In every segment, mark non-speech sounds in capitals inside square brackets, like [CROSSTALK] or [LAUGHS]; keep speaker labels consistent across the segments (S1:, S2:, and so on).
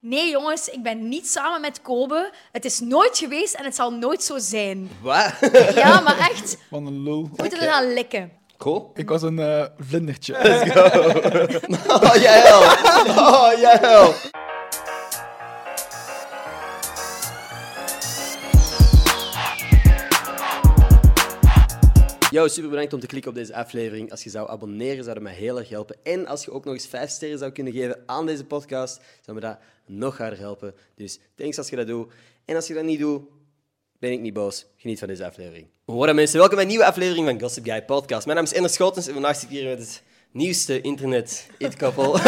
S1: Nee, jongens, ik ben niet samen met Kobe. Het is nooit geweest en het zal nooit zo zijn.
S2: Wat?
S1: Ja, maar echt,
S3: Van een lul.
S1: we moeten er aan likken.
S2: [LAUGHS] Cool.
S3: Ik was een eh, vlindertje.
S2: [LAUGHS] Oh, jijl. Oh, jijl. Yo, super bedankt om te klikken op deze aflevering. Als je zou abonneren, zou dat mij heel erg helpen. En als je ook nog eens 5 sterren zou kunnen geven aan deze podcast, zou me dat nog harder helpen. Dus thanks als je dat doet. En als je dat niet doet, ben ik niet boos. Geniet van deze aflevering. Hoi mensen, welkom bij een nieuwe aflevering van Gossip Guy Podcast. Mijn naam is Ender Schotens en vandaag zit ik hier met het nieuwste internet it
S3: [LAUGHS]
S2: couple.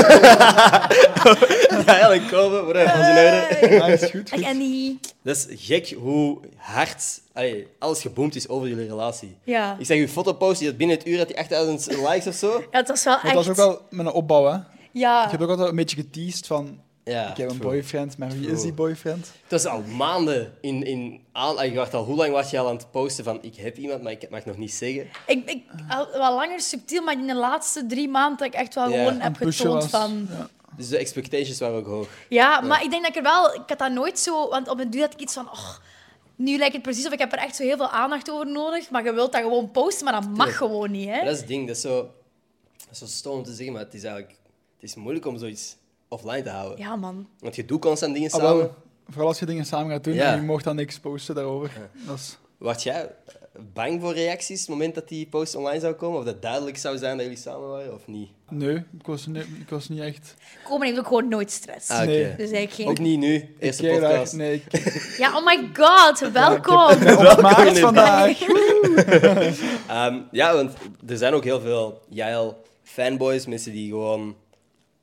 S2: ja, Ellen Kopen, whatever, van zijn ouder.
S3: Ja, is goed.
S1: Dag
S3: goed.
S1: Annie.
S2: Dat is gek hoe hard allee, alles geboomd is over jullie relatie.
S1: Ja.
S2: Ik zag uw fotopost, die had binnen het uur had die 8000 likes of zo.
S1: Ja, het was wel
S3: Maar
S1: echt... Ah.
S3: dat is ook wel met een opbouw, hè.
S1: Ja.
S3: Ik heb ook altijd een beetje geteased van...
S2: Ja,
S3: ik heb een
S2: true.
S3: boyfriend, maar wie is die boyfriend?
S2: Dat is al maanden in, in aan. allee, Je wacht al, hoe lang was je al aan het posten van ik heb iemand, maar ik mag nog niet zeggen.
S1: Ik, ik, al, wel langer subtiel, maar in de laatste drie maanden dat ik echt wel
S2: Ja,
S1: gewoon
S3: Een
S1: heb
S3: pusher
S1: getoond
S3: was.
S1: van...
S3: Ja.
S2: Dus de expectations waren ook hoog.
S1: Ja, maar ik denk dat ik er wel... Ik had dat nooit zo... Want op een duur had ik iets van... Och, nu lijkt het precies of ik heb er echt zo heel veel aandacht over nodig. Maar je wilt dat gewoon posten, maar dat mag gewoon niet, hè?
S2: Maar dat is het ding, dat is zo, dat is zo stom om te zeggen, maar het is eigenlijk het is moeilijk om zoiets offline te houden.
S1: Ja, man.
S2: Want je doet constant dingen
S3: Ah,
S2: samen.
S3: wel, vooral als je dingen samen gaat doen,
S2: Ja.
S3: en je mocht dan niks posten daarover. Dat is...
S2: Word jij eh, bang voor reacties op het moment dat die post online zou komen? Of dat duidelijk zou zijn dat jullie samen waren of niet?
S3: Nee, ik was, niet- ik was niet echt...
S1: Komen heeft ook gewoon nooit stress.
S2: Ah, oké.
S3: Nee.
S1: Dus eigenlijk geen...
S2: Ook niet nu, eerste
S3: Ik keer daar-
S2: podcast.
S3: nee,
S2: [LAUGHS]
S3: ik ik
S1: Ja, oh my
S3: [LAUGHS]
S1: god, welkom. [LAUGHS]
S3: ben op maart
S2: in-
S3: vandaag.
S2: Ehm, ja, want er zijn ook heel veel jail fanboys, mensen die gewoon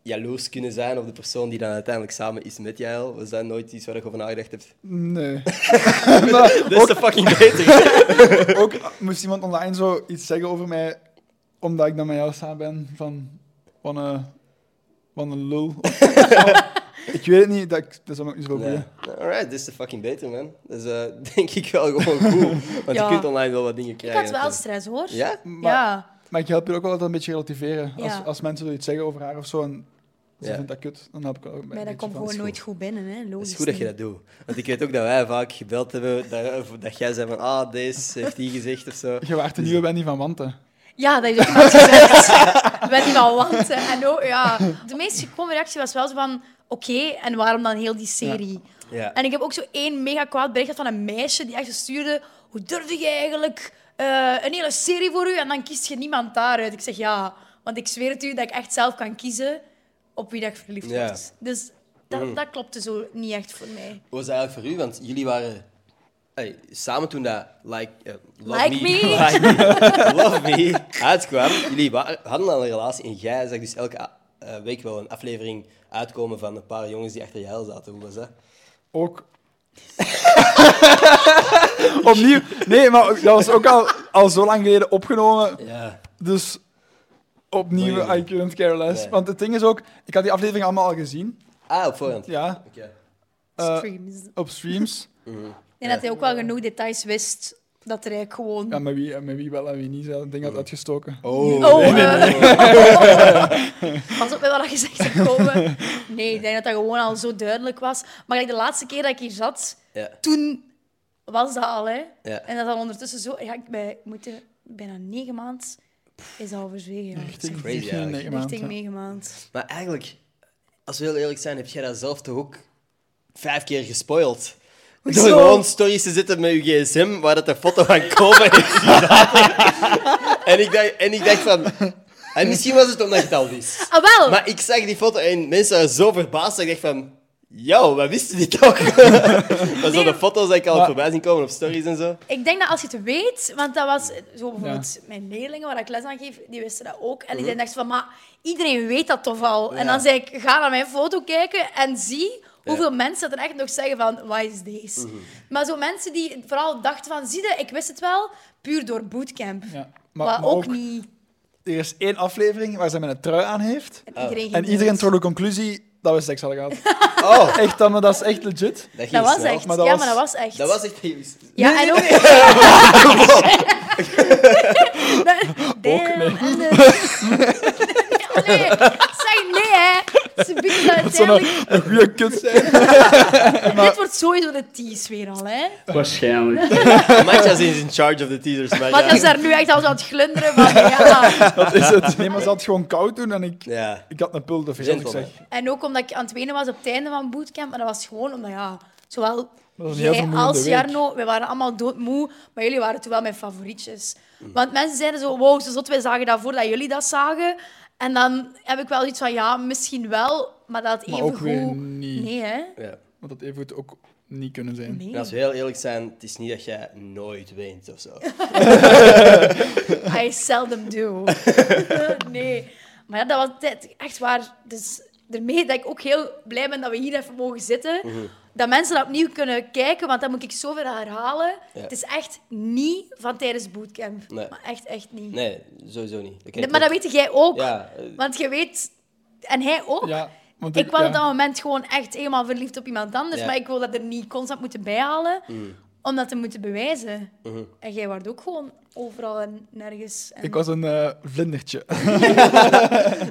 S2: jaloers kunnen zijn op de persoon die dan uiteindelijk samen is met jail. Was dat nooit iets waar je over nagedacht hebt? [LAUGHS]
S3: Nee. [LAUGHS] Maar
S2: Dat is de fucking beter.
S3: ook eh, moest iemand online zo iets zeggen over mij, omdat ik dan met jou samen ben, van... Van een... Van een lul. ik weet het niet, dat, ik- dat is ook niet zo goed.
S2: Ja. Alright, dit is de fucking beter, man. Dat is eh, [LAUGHS] denk ik wel gewoon cool. Want
S1: Ja.
S2: je kunt online wel wat dingen
S1: Ik
S2: krijgen.
S1: had wel stress, hoor.
S2: Ja?
S3: Maar-
S1: Ja.
S3: Maar ik help je ook altijd een beetje relativeren.
S1: Ja.
S3: Als, als mensen zoiets zeggen over haar of zo en ze
S2: Ja.
S3: vindt dat kut, dan heb ik wel een
S1: Maar
S3: beetje
S1: dat komt
S3: van,
S1: gewoon
S3: is
S1: nooit goed binnen, hè? Logisch
S2: Het is goed dat je
S1: niet.
S2: dat doet. Want ik weet ook dat wij vaak gebeld hebben, dat, of dat jij zei van, ah, deze heeft die gezegd of zo.
S3: goed. Je waart de nieuwe Wendy van Wanten.
S1: Ja, dat is ook iemand
S2: [LAUGHS]
S1: gezegd. Met die van wanten. En ook, ja. De meest gekomen reactie was wel zo van... Oké, en waarom dan heel die serie?
S2: Ja.
S1: En ik heb ook zo één mega kwaad bericht gehad van een meisje die echt zo stuurde... Hoe durfde je eigenlijk eh, een hele serie voor u? En dan kiest je niemand daaruit. Ik zeg ja, want ik zweer het u dat ik echt zelf kan kiezen op wie dat ik verliefd
S2: Ja. Mm.
S1: word. Dus dat, dat klopte zo niet echt voor mij.
S2: Hoe was dat eigenlijk voor u? Want jullie waren ey, samen toen dat like, eh, love
S1: Like
S2: me,
S1: Me.
S2: [LAUGHS] Like Me, Love Me uitkwam. Jullie wa- hadden al een relatie en jij zag dus elke a- eh, week wel een aflevering uitkomen van een paar jongens die achter je huil zaten. Hoe was dat?
S3: Ook. Opnieuw. Nee, maar dat was ook al, al zo lang geleden opgenomen.
S2: Ja.
S3: Dus opnieuw,
S2: Oei.
S3: I couldn't care less.
S2: Nee.
S3: Want het ding is ook, ik had die aflevering allemaal al gezien.
S2: Ah, op voorhand.
S3: Ja,
S2: Oké.
S3: eh,
S1: Streams.
S3: op streams.
S1: En dat hij ook wel genoeg details wist dat er eigenlijk gewoon...
S3: Ja, met wie, met wie wel en wie niet. Ik denk
S2: Hm.
S3: dat uitgestoken.
S1: Oh,
S3: [LAUGHS]
S1: eh. [LAUGHS] Pas op met wat je zegt te komen. Nee, ik denk dat dat gewoon al zo duidelijk was. Maar gelijk de laatste keer dat ik hier zat,
S2: Ja.
S1: toen was dat al, hè.
S2: Ja.
S1: En dat dan ondertussen zo... Ja, ik ben, ik moet er- bijna negen maanden is dat al verzwegen. ja.
S3: Richting,
S2: crazy
S3: richting
S2: eigenlijk.
S3: negen maanden,
S1: Richting
S3: ja.
S1: negen maand.
S2: Maar eigenlijk, als we heel eerlijk zijn, heb jij dat zelf toch ook vijf keer gespoild? Door
S1: Hoezo?
S2: gewoon stories te zitten met je gsm, waar dat de foto van Kobe is. [LAUGHS] en, ik dacht, en ik dacht van... En misschien was het omdat je het al wist.
S1: Ah, wel!
S2: Maar ik zag die foto en mensen waren zo verbaasd dat ik dacht van... Yo, wij wisten dit ook. [LAUGHS] Maar zo
S1: Nee.
S2: de foto's die ik al
S3: Maar-
S2: voorbij zien komen op stories en
S1: [LAUGHS]
S2: zo.
S1: Ik denk dat als je het weet, want dat was zo bijvoorbeeld mijn leerlingen waar ik les aan geef, die wisten dat ook. En die dachten van, maar iedereen weet dat toch al. En
S2: Mhm. Ja.
S1: dan zei ik, ga naar mijn foto kijken en zie hoeveel mensen dat er echt nog zeggen van, why is this?
S2: Mhm.
S1: Maar zo mensen die vooral dachten van, zie je, ik wist het wel, puur door bootcamp.
S3: Ja.
S1: Maar,
S3: Maar, maar
S1: ook,
S3: ook,
S1: niet.
S3: er is één aflevering waar zij met een trui aan heeft.
S2: Ah.
S1: En iedereen, ging
S3: En iedereen
S1: dood.
S3: trok de conclusie dat we seks
S1: [LAUGHS]
S3: hadden gehad.
S2: Oh,
S3: Echt, dan, maar dat is echt legit.
S2: dat ging
S1: Dat was
S2: snel.
S1: echt.
S3: maar dat
S1: ja,
S3: was-
S1: maar dat was echt.
S2: Dat was echt... heel-
S1: [LAUGHS] Ja, en ook... Damn, eh,
S3: Ook, nee.
S1: [LAUGHS] Ellen. Nee, oh nee. Zeg nee, hè. Ze bieden dat
S3: Dat zou
S1: uiteindelijk...
S3: een, een goede kut
S2: [LAUGHS]
S3: zijn.
S1: Dit wordt sowieso de tease weer al, hè.
S4: Waarschijnlijk.
S3: [LAUGHS]
S2: Matjas is in charge of de teasers. Maar
S1: Maar dat is
S2: ja.
S1: daar nu echt al zo aan het glunderen van, ja.
S3: Dat is het. Nee, maar ze had het gewoon koud doen en ik,
S2: ja.
S3: ik had een pul te veel, dus ik
S2: Gentleman.
S3: zeg.
S1: En ook omdat ik aan het wenen was op het einde van bootcamp. En dat was gewoon omdat, ja, zowel
S3: Dat was een heel
S1: jij
S3: vermoeiende
S1: als
S3: week.
S1: Jarno, we waren allemaal doodmoe. Maar jullie waren toen wel mijn favorietjes. Want mensen zeiden zo, wow, ze zot, wij zagen dat voordat jullie dat zagen. En dan heb ik wel iets van, ja, misschien wel, maar dat
S3: Maar
S1: even
S3: ook weer
S1: goed...
S3: niet.
S1: Nee, hè?
S2: Ja.
S3: Want dat even ook niet kunnen zijn.
S1: Nee.
S2: En als we heel eerlijk zijn, het is niet dat jij nooit weent of
S1: [LAUGHS]
S2: zo.
S1: I seldom do. [LAUGHS] nee. Maar ja, dat was dit- echt waar. Dus daarmee dat ik ook heel blij ben dat we hier even mogen zitten. Dat mensen dat opnieuw kunnen kijken, want dat moet ik zoveel herhalen.
S2: Ja.
S1: Het is echt niet van tijdens bootcamp.
S2: Nee.
S1: Maar echt, echt niet.
S2: Nee, sowieso niet. Dat ken
S1: Nee,
S2: ik
S1: maar dat
S2: ook.
S1: weet jij ook.
S2: Ja, eh,
S1: Want je weet... En hij ook.
S3: Ja, want
S1: Ik was
S3: ja.
S1: op dat moment gewoon echt helemaal verliefd op iemand anders.
S2: Ja. Mm.
S1: Maar ik wil dat er niet constant moeten bijhalen. Om dat te moeten bewijzen.
S2: Mhm.
S1: En jij wordt ook gewoon overal en nergens. En...
S3: Ik was een eh,
S2: [LAUGHS]
S3: vlindertje. [LAUGHS]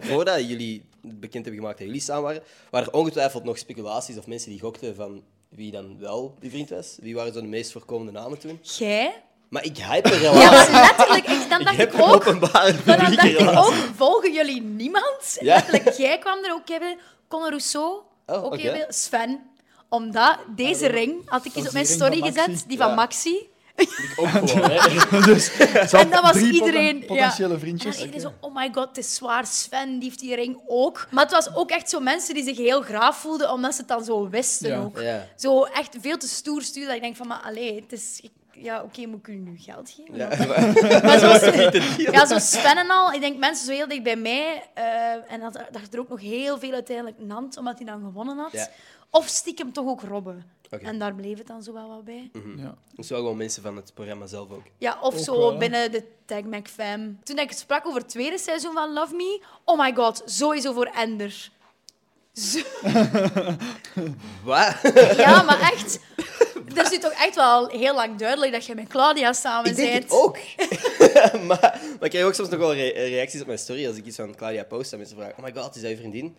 S2: voordat jullie het bekend hebben gemaakt dat jullie samen waren, waren er ongetwijfeld nog speculaties of mensen die gokten van wie dan wel die vriend was. Wie waren zo de meest voorkomende namen toen?
S1: Jij?
S2: Maar ik
S1: [LAUGHS]
S2: hype er
S1: Ja,
S2: relatie.
S1: maar letterlijk. Ik, dan
S2: ik
S1: dacht
S2: heb
S1: ik
S2: een
S1: ook...
S2: openbare
S1: Maar dan
S2: publieke
S1: dacht ik
S2: relatie.
S1: ook, volgen jullie niemand?
S2: Ja.
S1: Letterlijk, jij kwam er ook hebben. Conor Rousseau,
S2: Oh,
S1: ook
S2: oké.
S1: heel veel. Sven. Omdat deze ring, had ik
S3: Dat
S1: eens
S3: is
S1: op mijn
S3: die
S1: story
S3: ring van Maxi.
S1: gezet, die van
S2: Ja.
S1: Maxi.
S2: Ik ook
S1: [LAUGHS]
S2: gewoon, hè.
S1: En dat was
S3: Dus Drie poten-
S1: iedereen...
S3: potentiële
S1: En dan
S3: vriendjes.
S1: iedereen
S3: Oké.
S1: zo, oh my god, het is zwaar. Sven, die heeft die ring ook. Maar het was ook echt zo mensen die zich heel graaf voelden, omdat ze het dan zo wisten
S3: Ja.
S1: ook.
S2: Ja.
S1: Zo echt veel te stoer sturen, dat ik denk van, maar allee, het is... ik- ja, oké, moet ik u nu geld geven?
S2: Ja. [LAUGHS]
S1: Maar zo, ja, zo Sven en al. Ik denk mensen zo heel dicht bij mij. eh, en dat, dat er ook nog heel veel uiteindelijk Nant, omdat hij dan gewonnen had.
S2: Ja.
S1: Of stiekem toch ook Robben.
S2: Oké.
S1: En daar bleef het dan zo wel wat bij.
S3: Ja.
S2: Dus wel gewoon mensen van het programma zelf ook.
S1: Ja, of
S3: Ook
S1: zo
S3: wel, hè?
S1: binnen de Tag Mac fam. Toen ik sprak over het tweede seizoen van Love Me, oh my god, sowieso voor Ender.
S2: [LAUGHS]
S1: Zo-
S2: Wat?
S1: ja, maar echt. Er zit toch echt wel heel lang duidelijk dat je met Claudia samen
S2: Ik denk
S1: bent.
S2: het ook. [LAUGHS]
S1: [LAUGHS]
S2: maar, maar ik krijg ook soms nog wel re- reacties op mijn story als ik iets van Claudia post en mensen vragen: Oh my god, is hij je vriendin?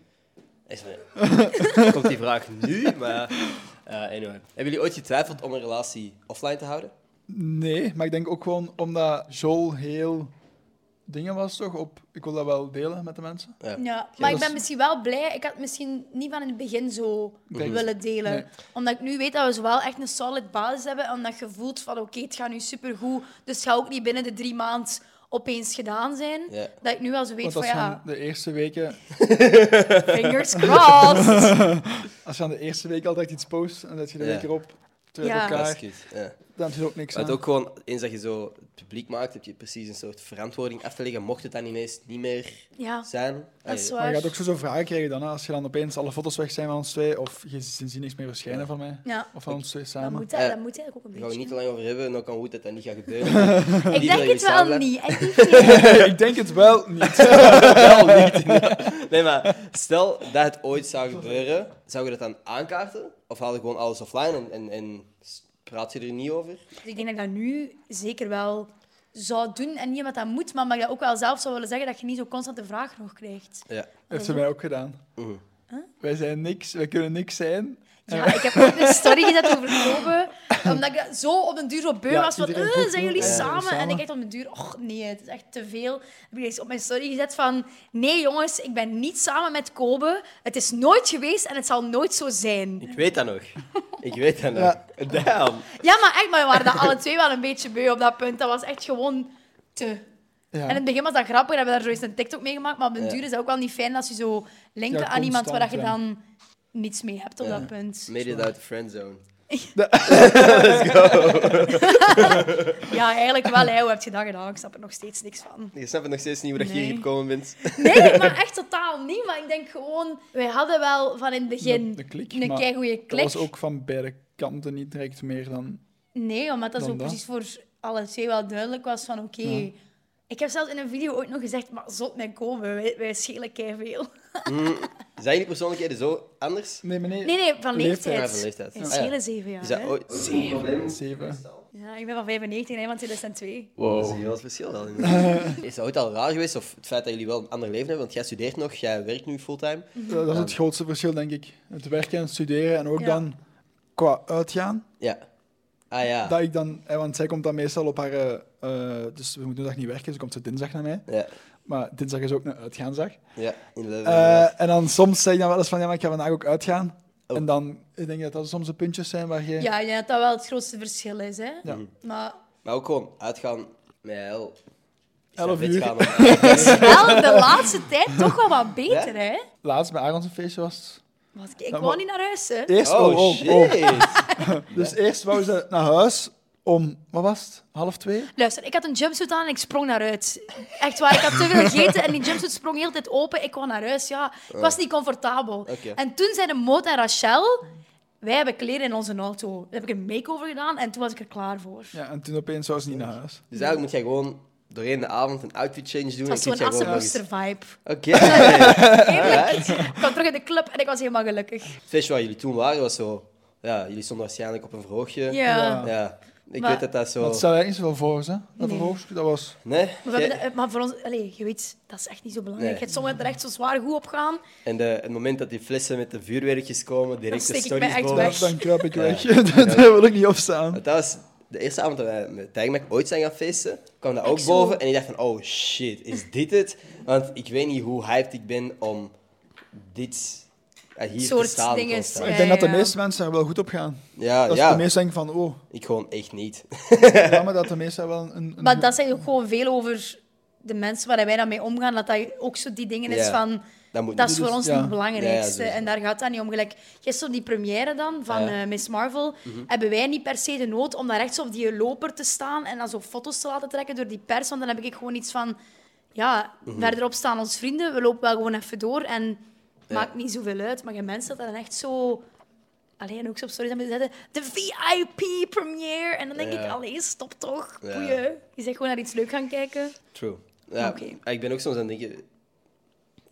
S2: En is van, "Ja." Komt die vraag nu? Maar eh, anyway. Hebben jullie ooit getwijfeld om een relatie offline te houden?
S3: Nee, maar ik denk ook gewoon omdat Joel heel dingen was toch op... Ik wil dat wel delen met de mensen.
S2: Ja.
S1: Ja, maar ik
S3: dat
S1: ben
S3: is-
S1: misschien wel blij. Ik had het misschien niet van in het begin zo
S3: denk-
S1: willen delen.
S3: Nee.
S1: Omdat ik nu weet dat we zo wel echt een solid basis hebben. Omdat je voelt van oké, het gaat nu supergoed. Dus het gaat ook niet binnen de drie maanden opeens gedaan zijn.
S2: Ja.
S1: Dat ik nu wel zo weet
S3: Want
S1: van
S3: als je aan
S1: ja,
S3: de eerste weken...
S1: fingers crossed.
S3: Als je aan de eerste week altijd iets post, en dan zet je de
S2: Ja.
S3: week erop, terug
S1: Ja.
S2: Dat is
S3: elkaar,
S2: cute. Ja.
S3: dan heb je er ook niks
S2: Maar
S3: aan.
S2: het ook gewoon, eens dat je zo het publiek maakt, heb je precies een soort verantwoording af te leggen. Mocht het dan ineens niet meer
S1: Ja,
S2: zijn.
S1: dat is
S2: Allee,
S3: Maar
S1: waar.
S3: je gaat ook sowieso vragen krijgen dan, hè, als je dan opeens alle foto's weg zijn van ons twee, of je ziet niks meer verschijnen van mij,
S1: Ja,
S3: of van ons twee
S1: dat
S3: samen.
S1: moet, dat,
S2: Eh,
S1: dat moet eigenlijk ook een
S2: Daar gaan we niet te
S1: beetje.
S2: lang over hebben en ook kan goed dat dat niet gaat
S1: [LAUGHS]
S2: gebeuren. Maar
S1: Ik
S2: die
S1: denk
S2: wil je
S1: het wel
S2: samen-
S1: niet. Echt niet veel.
S3: [LAUGHS] ik denk het wel
S2: [LAUGHS]
S3: niet.
S2: wel niet. inderdaad. Nee, maar stel dat het ooit zou gebeuren, zou je dat dan aankaarten? Of haal je gewoon alles offline en, en, en s- praat je er niet over?
S1: Dus ik denk dat ik dat nu zeker wel zou doen. En niet omdat dat moet, maar omdat ik dat ook wel zelf zou willen zeggen dat je niet zo constant de vraag nog krijgt.
S2: Ja.
S3: heeft ze mij ook gedaan.
S2: Mhm.
S3: Wij zijn niks, wij kunnen niks zijn.
S1: Ja,
S3: Eh.
S1: ik heb ook een story gezet over lopen, omdat ik zo op den duur zo beu
S3: Ja,
S1: was van,
S3: iedereen
S1: "Eh,
S3: goed
S1: zijn
S3: doen,
S1: jullie
S3: ja,
S1: samen?
S3: samen.
S1: En ik echt op den duur, och nee, het is echt te veel. Heb ik eens op mijn story gezet van, nee jongens, ik ben niet samen met Kobe. Het is nooit geweest en het zal nooit zo zijn.
S2: Ik weet dat nog. Ik weet dat nog.
S3: Ja.
S2: Damn.
S1: Ja, maar echt, maar we waren dat alle twee wel een beetje beu op dat punt. Dat was echt gewoon te...
S3: Ja.
S1: En in het begin was dat grappig, we hebben daar zo eens een TikTok mee gemaakt, maar op den
S2: Ja.
S1: duur is dat ook wel niet fijn als je zo linken
S3: Ja,
S1: aan iemand waar dat je
S3: constant,
S1: dan niets mee hebt op
S2: Ja.
S1: dat punt.
S2: Made it out the friendzone.
S1: Ja, eigenlijk wel. Hè. Hoe heb je dat gedaan? Ik snap er nog steeds niks van.
S2: Je snapt het nog steeds niet hoe dat je
S1: Nee.
S2: hier gekomen bent.
S1: Nee, maar echt totaal niet. Maar ik denk gewoon, wij hadden wel van in het begin
S3: De- de klik,
S1: een
S3: maar
S1: keigoeie
S3: Dat
S1: klik.
S3: was ook van beide kanten niet direct meer dan...
S1: Nee, omdat dat
S3: Dan
S1: zo
S3: dat.
S1: precies voor alle twee wel duidelijk was van oké,
S3: Ja.
S1: Ik heb zelfs in een video ooit nog gezegd, maar zot mij komen, wij, wij schelen veel.
S2: Zijn die persoonlijkheden zo anders?
S3: Nee, meneer.
S1: Nee, nee, van
S3: Leeftijd.
S1: leeftijd.
S2: Ja, van leeftijd.
S1: Wij
S2: Ah, ja.
S1: schelen zeven jaar.
S2: Is dat
S1: hè.
S2: ooit...
S3: Zeven.
S1: Ja, ik ben van 95 en hij van 2002.
S2: Dat is een heel verschil wel. [LAUGHS] inderdaad. Is dat ooit al raar geweest? Of het feit dat jullie wel een ander leven hebben? Want jij studeert nog, jij werkt nu fulltime.
S3: Dat is het grootste verschil, denk ik. Het werken en het studeren en ook
S1: Mhm. Ja.
S3: dan qua uitgaan.
S2: Ja. Ah ja.
S3: Dat ik dan, hè, want zij komt dan meestal op haar. eh, eh, dus we moeten dag niet werken, dus komt ze dinsdag naar mij.
S2: Ja,
S3: Maar dinsdag is ook een uitgaandag.
S2: ja. inderdaad.
S3: Eh, en dan soms zeg ik dan wel eens van ja, maar ik ga vandaag ook uitgaan.
S2: Oh.
S3: En dan ik denk dat dat soms de puntjes zijn waar je.
S1: Ja, ik denk dat dat wel het grootste verschil is. Hè?
S3: Ja.
S1: Maar
S2: Maar ook gewoon uitgaan met heel...
S3: Elf
S2: Wit
S3: uur.
S2: gaan,
S3: [LAUGHS]
S2: maar-
S1: wel de laatste tijd toch wel wat beter, hè?
S3: Laatst bij Aaron's een feestje was.
S1: Want ik, ik
S3: Ja,
S1: wou
S3: maar-
S1: niet naar huis, hè?
S3: Eerst,
S2: Oh,
S3: oh, oh,
S2: shit.
S3: oh. Dus eerst wou ze naar huis om, wat was het? Half twee?
S1: Luister, ik had een jumpsuit aan en ik sprong naar uit. Echt waar, ik had te veel gegeten en die jumpsuit sprong heel de tijd open. Ik kwam naar huis, ja. Ik was niet comfortabel.
S2: Oké.
S1: En toen zeiden Moot en Rachel, wij hebben kleren in onze auto. Daar heb ik een make-over gedaan en toen was ik er klaar voor.
S3: Ja, en toen opeens zou ze niet naar huis.
S2: Dus eigenlijk moet jij gewoon doorheen de avond een outfit change doen.
S1: Het
S2: en
S1: was
S2: zit
S1: zo'n
S2: jij gewoon nog eens- [LAUGHS]
S1: assenpoester-vibe.
S2: Oké.
S1: Ik kwam terug in de club en ik was helemaal gelukkig.
S2: Het feestje waar jullie toen waren was zo... Ja, jullie stonden waarschijnlijk op een verhoogje.
S1: Ja.
S2: Ja. Ik
S1: Maar-
S2: weet dat dat zo...
S3: Dat stelde eigenlijk niet zoveel voor, hè? Dat
S1: Nee.
S3: verhoogstje, dat was...
S2: Nee?
S1: Maar, we hebben
S2: Jij-
S1: de- maar voor ons, allez, je weet, dat is echt niet zo belangrijk.
S2: Nee.
S1: Het Sommigen er echt zo zwaar goed op gaan.
S2: En de, het moment dat die flessen met de vuurwerkjes komen, direct
S1: Dan
S2: de
S1: steek ik mij
S2: stories
S1: echt
S2: boven.
S1: weg.
S3: Dan, dan kruip ik
S2: Ja.
S3: weg. [LAUGHS] Daar wil ik niet op staan.
S2: Want dat was de eerste avond dat wij met Tijgmak ooit zijn gaan feesten, kwam dat ook
S1: zo.
S2: boven. En ik dacht van, oh shit, is dit het? Want ik weet niet hoe hyped ik ben om dit... eh, Hier
S1: Soort
S2: te staan
S1: dingen,
S2: constant.
S1: ja.
S3: Ik denk dat de meeste mensen er wel goed op gaan.
S2: Ja,
S3: Dat
S2: ja.
S3: de meesten denken van, oh,
S2: Ik gewoon echt niet. [LAUGHS]
S3: jammer dat de meesten wel een... een
S1: Maar dat zegt ook gewoon veel over de mensen waar wij dan mee omgaan. Dat dat ook zo die dingen is
S2: Ja.
S1: van...
S2: Dat moet
S1: Dat
S2: niet.
S1: is voor ons
S3: Ja.
S1: het belangrijkste.
S2: Ja, ja,
S1: en daar gaat dat niet om. Gelijk, gisteren die première dan van
S2: Ah, ja.
S1: eh, Miss Marvel, hebben wij niet per se de nood om daar rechts op die loper te staan en dan zo foto's te laten trekken door die pers. Want dan heb ik gewoon iets van, ja, verderop staan ons vrienden, we lopen wel gewoon even door en het maakt niet zoveel uit. Maar je mensen dat dan echt zo... Alleen ook zo op stories aan moeten zetten, de VIP premiere. En dan denk
S2: Ja.
S1: ik, alleen stop toch,
S2: Ja.
S1: boeien. Je zegt gewoon naar iets leuk gaan kijken.
S2: True. Ja,
S1: Oké.
S2: Ik ben ook soms aan het denken,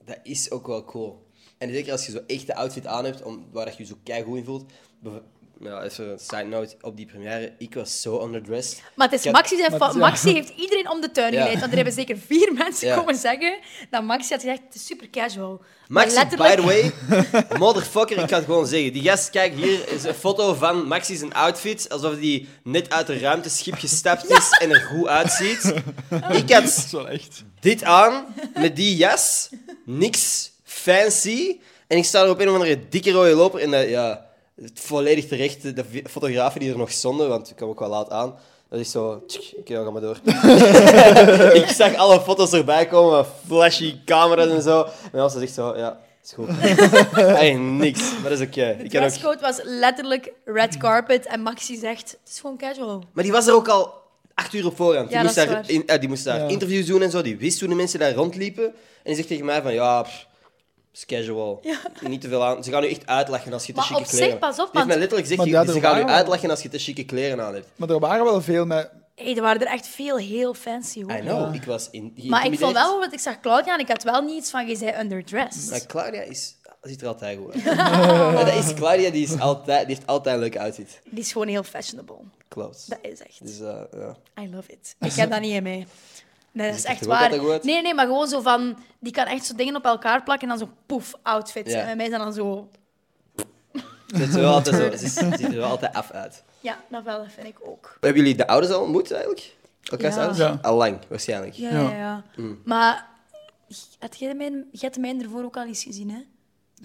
S2: dat is ook wel cool. En zeker als je zo echt de outfit aan hebt, om, waar je je zo keigoed in voelt. Bev- Ja, even een side note, op die première, ik was zo underdressed.
S1: Maar het is
S2: Ik heb-
S1: Maxi, zijn
S3: Maar
S1: fa-
S3: het is-
S1: Maxi heeft iedereen om de tuin
S2: Ja.
S1: geleid. Want er hebben zeker vier [LAUGHS] mensen
S2: Ja.
S1: komen zeggen dat Maxi had gezegd, het is super casual. Maar
S2: Maxi, by the way, motherfucker, ik ga het gewoon zeggen. Die gast, kijk, hier is een foto van Maxi zijn outfit, alsof hij net uit de ruimteschip gestapt is en er goed uitziet. Ik had
S3: Dat is wel echt...
S2: dit aan, met die jas, niks fancy. En ik sta er op een of andere dikke rode loper. En eh, ja, het volledig terecht, eh, de vi- fotografen die er nog stonden, want ik kwam ook wel laat aan. Dat is zo, tsk, oké, ja, ga maar door. [LAUGHS] ik zag alle foto's erbij komen, met flashy camera's en zo. En als ze echt zo, ja, is goed. [LAUGHS] Eigenlijk niks, maar dat is oké. Ik
S1: De
S2: kan ook...
S1: dresscode was letterlijk red carpet. En Maxi zegt, het is gewoon casual.
S2: Maar die was er ook al acht uur op voorhand. Die,
S1: Ja,
S2: moest,
S1: dat is
S2: daar,
S1: waar.
S2: in- eh, die moest daar
S3: Ja.
S2: interviews doen en zo. Die wist toen de mensen daar rondliepen. En die zegt tegen mij van, ja, pff, is casual. Niet te veel aan. Ze gaan nu echt uitlachen als je te
S1: Maar
S2: chique
S1: op zich,
S2: kleren
S1: pas op,
S2: Die heeft
S1: want-
S2: mij letterlijk
S3: Maar
S2: gezegd,
S3: die
S2: je- ze
S3: hadden
S2: gaan nu
S3: waren wel-
S2: uitlachen als je te chique kleren aan hebt.
S3: Maar er waren wel veel met...
S1: Hey, er waren er echt veel heel fancy, hoor.
S2: I know, ik was in,
S1: Maar ik vond
S2: geïntimideerd.
S1: wel, want ik zag Claudia en ik had wel niet iets van, je zei underdressed.
S2: Maar Claudia is, ziet er altijd
S1: [LAUGHS]
S2: goed uit. Maar dat is, Claudia die, is altijd, die heeft altijd een leuke outfit.
S1: Die is gewoon heel fashionable.
S2: Close.
S1: Dat is echt.
S2: Dus eh, ja.
S1: I love it.
S2: [LAUGHS]
S1: Ik heb dat niet in mij. Nee, dat is
S2: ziet er
S1: echt
S2: ook
S1: waar.
S2: altijd goed uit.
S1: Nee, nee, maar gewoon zo van... Die kan echt zo dingen op elkaar plakken en dan zo'n poef outfit.
S2: Ja.
S1: En bij mij is dat dan zo...
S2: Ze ziet er wel altijd zo- ze ze ziet er wel altijd af uit.
S1: Ja, dat wel, dat vind ik ook.
S2: Hebben jullie de ouders al ontmoet eigenlijk? Elkaars
S1: Ja.
S2: ouders?
S3: Ja.
S2: Allang, waarschijnlijk.
S1: Ja,
S3: Ja. Mm.
S1: ja, ja. Maar had jij, mijn, jij hebt mij ervoor ook al eens gezien, hè?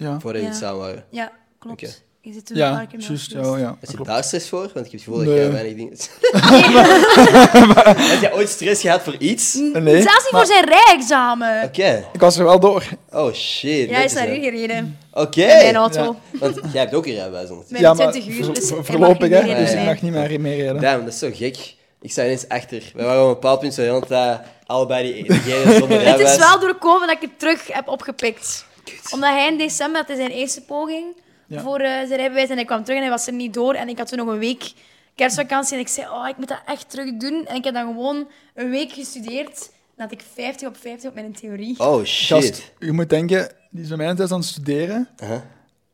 S3: Ja,
S2: Voordat je
S1: Ja.
S2: het samen waren.
S1: Ja, klopt.
S2: Oké.
S1: Je zit toen een
S3: ja
S1: paar keer met ons
S3: juist. Ja,
S1: geweest.
S3: ja. dat
S2: Had je
S3: klopt.
S2: daar stress voor? Want ik heb het gevoel dat
S3: Nee.
S2: jij weinig dingen... [LAUGHS]
S1: [LAUGHS]
S2: Heb jij ooit stress gehad voor iets? Oké.
S3: Eh, Nee,
S1: Zelfs niet
S3: maar-
S1: voor zijn rijexamen.
S3: Ik was er wel door.
S2: Oh shit.
S1: Jij
S2: dit
S1: is naar
S2: hè.
S1: hier gereden.
S2: Oké.
S1: In mijn auto.
S2: Want jij hebt ook een rijbewijs ondertussen.
S1: Met
S3: ja, maar
S1: 20 uur. Dus
S3: voor-
S1: hij mag
S3: voorlopig,
S1: niet
S3: hè.
S1: meer
S3: Dus
S1: rijden.
S3: ik mag niet meer meer eh, rijden.
S2: Damn, dat is zo gek. Ik sta ineens achter. We waren op een bepaald punt zo heel de tijd allebei
S1: [LAUGHS]
S2: die diegene zonder
S1: Het is
S2: rijbewijs.
S1: wel door COVID dat ik het terug heb opgepikt. Omdat hij in december, dat is zijn eerste poging
S3: Ja.
S1: voor eh, zijn rijbewijs, en hij kwam terug en hij was er niet door. En ik had toen nog een week kerstvakantie en ik zei, oh, ik moet dat echt terug doen. En ik heb dan gewoon een week gestudeerd Dan had ik 50 op 50 op mijn theorie.
S2: Oh,
S3: Gast,
S2: shit.
S3: je moet denken, die is bij mij thuis aan het studeren
S2: Huh?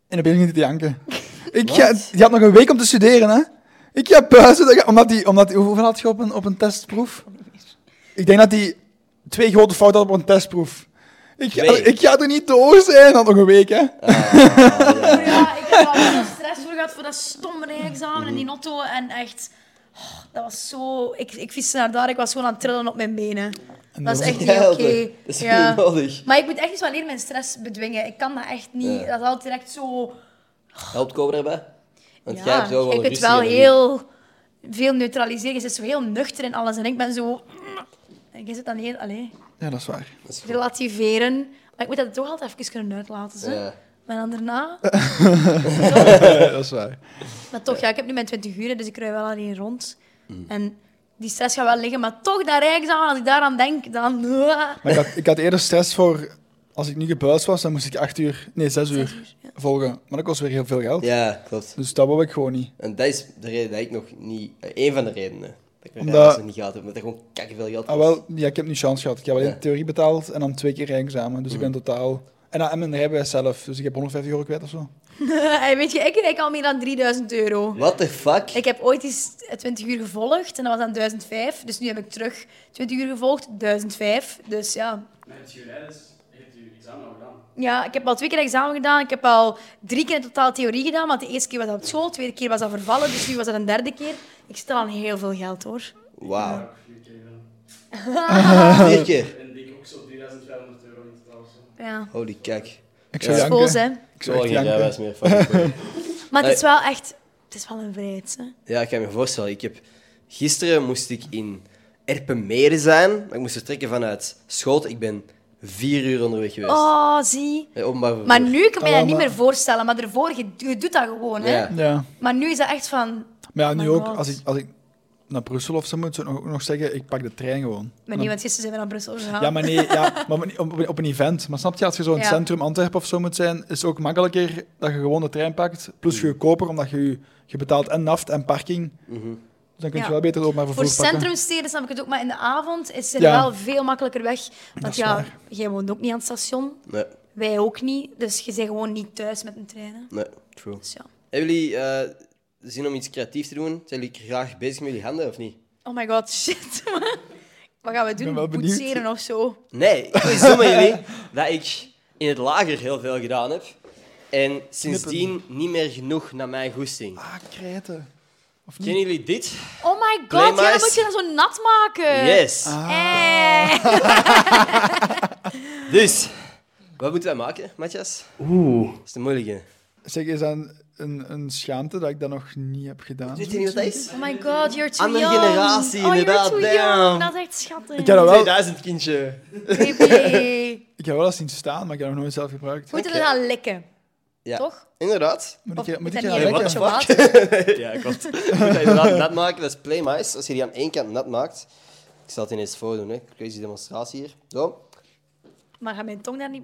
S3: en opeens begint hij te [LAUGHS] janken. Ik ga,
S2: Wat?
S3: die had nog een week om te studeren, hè? Ik ga buizen, dat ga- omdat hij, omdat die, hoeveel had je op een, op een testproef? Ik denk dat hij twee grote fouten had op een testproef. Ik ga,
S2: Twee?
S3: ik ga er niet door zijn, had nog een week, hè?
S1: Maar Ja, ik heb al veel stress voor gehad voor dat stomme rijexamen en die auto. En echt, oh, dat was zo... Ik, ik fietste naar daar, ik was gewoon aan het trillen op mijn benen. Dat
S2: [LAUGHS]
S1: is echt niet oké.
S2: Helder. Dat is
S1: Ja.
S2: niet nodig.
S1: Maar ik moet echt eens wel leren mijn stress bedwingen. Ik kan dat echt niet.
S2: Ja.
S1: Dat is altijd direct zo...
S2: Helpt Cobra erbij? Want
S1: ja,
S2: jij hebt wel wel
S1: ik kunt
S2: ruzie
S1: wel
S2: en-
S1: heel veel neutraliseren. Je zit zo heel nuchter in alles. En ik ben zo... En je zit dan heel... Allee,
S3: Ja, dat is [LAUGHS] waar.
S2: Dat is goed.
S1: relativeren. Maar ik moet dat toch altijd even kunnen uitlaten. Ze.
S2: Ja.
S1: Maar dan daarna...
S3: dat is waar.
S1: Maar toch, ja, ik heb nu mijn 20 uur, dus ik rij wel alleen rond. En die stress gaat wel liggen, maar toch dat rijexamen, als ik daaraan denk, dan... [LAUGHS]
S3: Maar ik had, ik had eerder stress voor, als ik nu gebuist was, dan moest ik acht uur, nee, zes uur volgen. Maar dat kost weer heel veel geld.
S2: ja, klopt.
S3: Dus dat wou ik gewoon niet.
S2: En dat is de reden dat ik nog niet... eh, Een van de redenen. Dat ik
S3: Omdat-
S2: mijn rijles nog niet gehad heb, omdat er gewoon veel geld
S3: Ah,
S2: kost.
S3: wel, ja, ik heb nu chance gehad. Ik heb alleen
S2: Ja. Mhm.
S3: theorie betaald en dan twee keer rijexamen. Dus ik ben totaal... En, dan- en mijn rijbewijs zelf, dus ik heb 150 euro kwijt of zo.
S1: En weet je, ik rijk al meer dan 3000 euro.
S2: What the fuck?
S1: Ik heb ooit eens 20 uur gevolgd en dat was dan 1005. Dus nu heb ik terug 20 uur gevolgd, 1005. Dus ja.
S4: Met je rijles heeft je examen al gedaan.
S1: Ja, ik heb al twee keer examen gedaan. Ik heb al drie keer in totaal theorie gedaan. Want de eerste keer was dat op school, de tweede keer was dat vervallen. Dus nu was dat een derde keer. Ik stel aan heel veel geld hoor.
S3: [LAUGHS]
S2: Wauw.
S4: Ook vier keer gedaan.
S2: Vier keer.
S4: En denk ook zo 3500 euro in totaal. Zo.
S1: Ja,
S2: Holy kak.
S3: Ik
S2: Ja.
S3: zou janken.
S1: school hè.
S2: Ik
S3: zou
S2: zal
S3: echt
S2: geen
S3: janken.
S2: rijbewijs meer fucking
S1: Maar het is wel echt, het is wel een vrijheid. Hè.
S2: [LAUGHS] Ja, ik kan me voorstellen. Ik heb... Gisteren moest ik in Erpenmeren zijn. Maar ik moest vertrekken vanuit Schoot. Ik ben vier uur onderweg
S3: Dus-
S2: geweest.
S1: Oh, zie.
S2: Eh, Openbaar vervoer.
S1: Maar nu kan ik me
S3: Ah,
S1: dat niet
S3: maar-
S1: meer voorstellen. Maar ervoor, je, je doet dat gewoon. Hè?
S2: Ja.
S3: Ja.
S1: Maar nu is dat echt van...
S3: Maar ja,
S1: Oh
S3: nu
S1: my
S3: ook,
S1: God.
S3: als ik, als ik naar Brussel of zo moet, zou ik nog, ook nog zeggen, ik pak de trein gewoon.
S1: Maar
S3: Dan-
S1: nee, want gisteren zijn we naar Brussel gegaan.
S3: ja, maar nee, ja, maar op, op, op een event. Maar snap je, als je zo in het
S1: Ja.
S3: centrum Antwerpen of zo moet zijn, is het ook makkelijker dat je gewoon de trein pakt. Plus goedkoper, omdat je, je betaalt en naft en parking.
S2: Mhm.
S3: Dus dan kun je
S1: Ja.
S3: wel beter ook maar
S1: Voor
S3: vervoer pakken.
S1: centrumsteden snap ik het ook, maar in de avond is er
S3: Ja.
S1: wel veel makkelijker weg. Want
S3: is
S1: ja,
S3: waar.
S1: jij woont ook niet aan het station,
S2: Nee,
S1: wij ook niet. Dus je bent gewoon niet thuis met een trein. Hè?
S2: nee, true.
S1: Dus ja.
S2: Hebben jullie eh, zin om iets creatiefs te doen? Zijn jullie graag bezig met jullie handen of niet?
S1: Oh my god, shit. [LAUGHS] man. Wat gaan we doen?
S3: ben wel benieuwd.
S1: Poetseren of zo?
S2: Nee, ik wil iets doen met jullie dat ik in het lager heel veel gedaan heb. En sindsdien niet meer genoeg naar mijn goesting.
S3: Ah, krijten. Of niet?
S2: Kennen jullie dit?
S1: Oh my god, ja, dan
S2: Playmice.
S1: moet je dat zo nat maken.
S2: Yes.
S3: Ah.
S1: Eh.
S2: [LAUGHS] Dus, wat moeten wij maken, Matthias? Oeh. Dat is de moeilijke.
S3: Zeg, is dat een, een, een schaamte dat ik dat nog niet heb gedaan?
S2: Weet je niet wat dat is?
S1: Oh my god, you're too
S2: Andere
S1: young.
S2: generatie,
S1: oh,
S2: inderdaad,
S1: You're too
S2: damn.
S1: young. Dat is echt schattig.
S3: Ik heb dat wel,
S2: 2000 kindje.
S1: Baby.
S3: ik heb wel eens zien staan, maar ik heb dat nog nooit zelf gebruikt.
S1: Moeten we dat likken,
S2: Ja.
S1: toch?
S2: Inderdaad.
S3: Moet
S1: Of
S3: ik, moet ik
S1: dat
S3: gaan
S1: niet een
S2: what
S3: lekken?
S2: the
S1: beetje
S2: fuck?
S1: water?
S2: ja, klopt. Je moet dat inderdaad nat maken, dat is playmice. Als je die aan één kant nat maakt. Ik zal het ineens voordoen, hè. Crazy demonstratie hier. Zo.
S1: Maar gaat mijn tong daar niet...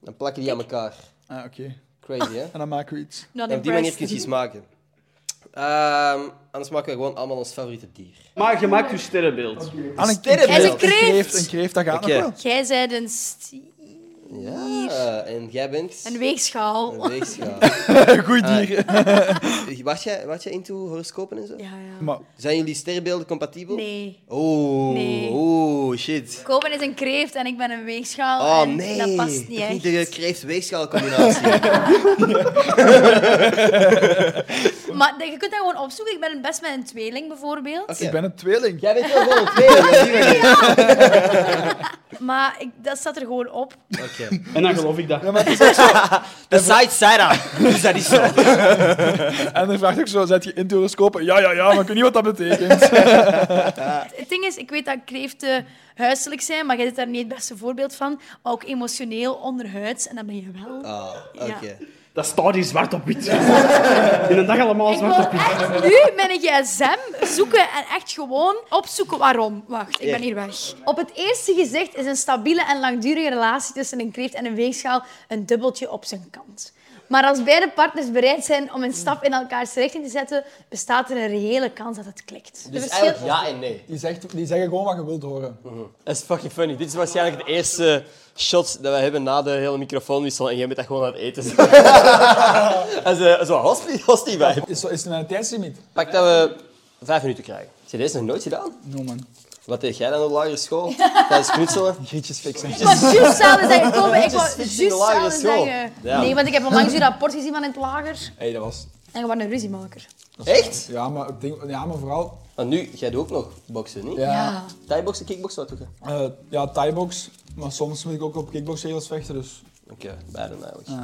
S2: Dan plakken die aan elkaar.
S3: Ah, oké.
S2: Crazy, hè?
S3: En dan maken we iets.
S1: Not
S2: En op die manier
S1: impressed.
S2: kun je iets maken. Ehm, anders maken we gewoon allemaal ons favoriete dier.
S4: Maar je maakt je sterrenbeeld.
S3: Aan Ah, een
S1: Hij is
S2: sterrenbeeld.
S1: een kreeft.
S3: Een kreeft, dat gaat
S2: Oké.
S3: nog wel.
S1: Jij bent een stier.
S2: Ja, en jij bent...
S1: Een weegschaal.
S2: Een weegschaal. Ah,
S3: Goed [LAUGHS] dier.
S2: Was jij, was jij into horoscopen en zo?
S1: Ja, ja.
S3: Ah, Maar
S2: Zijn jullie sterrenbeelden compatibel?
S1: Nee.
S2: Oh,
S1: Nee.
S2: oh, shit.
S1: Kopen is een kreeft en ik ben een weegschaal.
S2: Oh
S1: en
S2: nee,
S1: Dat past niet
S2: Toch
S1: echt.
S2: de kreeft-weegschaal
S3: [LAUGHS]
S2: combinatie.
S1: Maar de- je kunt dat gewoon opzoeken. Ik ben best met een tweeling bijvoorbeeld.
S2: Oké.
S3: ik ben een tweeling.
S2: jij bent wel gewoon twee. op die manier.
S1: Maar ik, dat staat er gewoon op.
S2: Oké.
S4: En dan geloof ik dat.
S3: Ja, maar het is ook zo.
S2: [LAUGHS] De side Sarah. Dus dat is zo.
S3: En dan vraagt ook zo, zet je in te horoscopen? Ja, ja, ja, maar ik weet niet wat dat betekent.
S1: Het ding is, ik weet dat kreeften huiselijk zijn, maar jij zit daar niet het beste voorbeeld van. Maar ook emotioneel, onderhuids. En dat ben je wel.
S2: Ah, oké.
S4: Dat staat hier zwart op wit. [LAUGHS] In een dag allemaal
S1: Ik
S4: zwart
S1: wil
S4: op wit.
S1: echt nu mijn gsm zoeken en echt gewoon opzoeken waarom. Wacht, ik ben
S2: Ja.
S1: hier weg. Op het eerste gezicht is een stabiele en langdurige relatie tussen een kreeft en een weegschaal een dubbeltje op zijn kant.
S5: Maar als beide partners bereid zijn om een stap in elkaars richting te zetten, bestaat er een reële kans dat het klikt.
S2: Dus
S5: De
S2: eigenlijk ja en nee.
S3: Die, zegt, die zeggen gewoon wat je wilt horen.
S2: Dat is fucking funny. Dit is waarschijnlijk de eerste shot dat we hebben na de hele microfoonwissel en jij bent dat eh, gewoon aan het eten. [LAUGHS] en ze, zo, hostie, hostie bij.
S3: Is, zo- is er een tijdslimiet?
S2: Pak dat we vijf minuten krijgen. Heb je deze nog nooit gedaan?
S3: No man.
S2: Wat deed jij dan op de lagere school? Tijdens knutselen?
S3: Grietjes fixen.
S5: Ik was juist samen zeggen,
S2: [LAUGHS]
S5: komen. Ik
S2: Just
S5: was
S2: fix
S5: juist
S2: in de lagere
S5: samen
S2: school.
S5: zeggen.
S2: Ja.
S5: Nee, want ik heb onlangs je rapport gezien van in het lager.
S3: Hey, dat was...
S5: En je was een ruziemaker.
S2: Echt?
S3: Ja, maar, het ding, ja, maar vooral...
S2: Want nu, jij doet ook nog boksen, niet?
S3: Ja.
S5: Ja.
S2: Thaiboxen, kickboksen, wat doe je?
S3: eh, ja, Thaibox. Maar soms moet ik ook op kickboxregels vechten, dus...
S2: Oké, beide eigenlijk. Ah.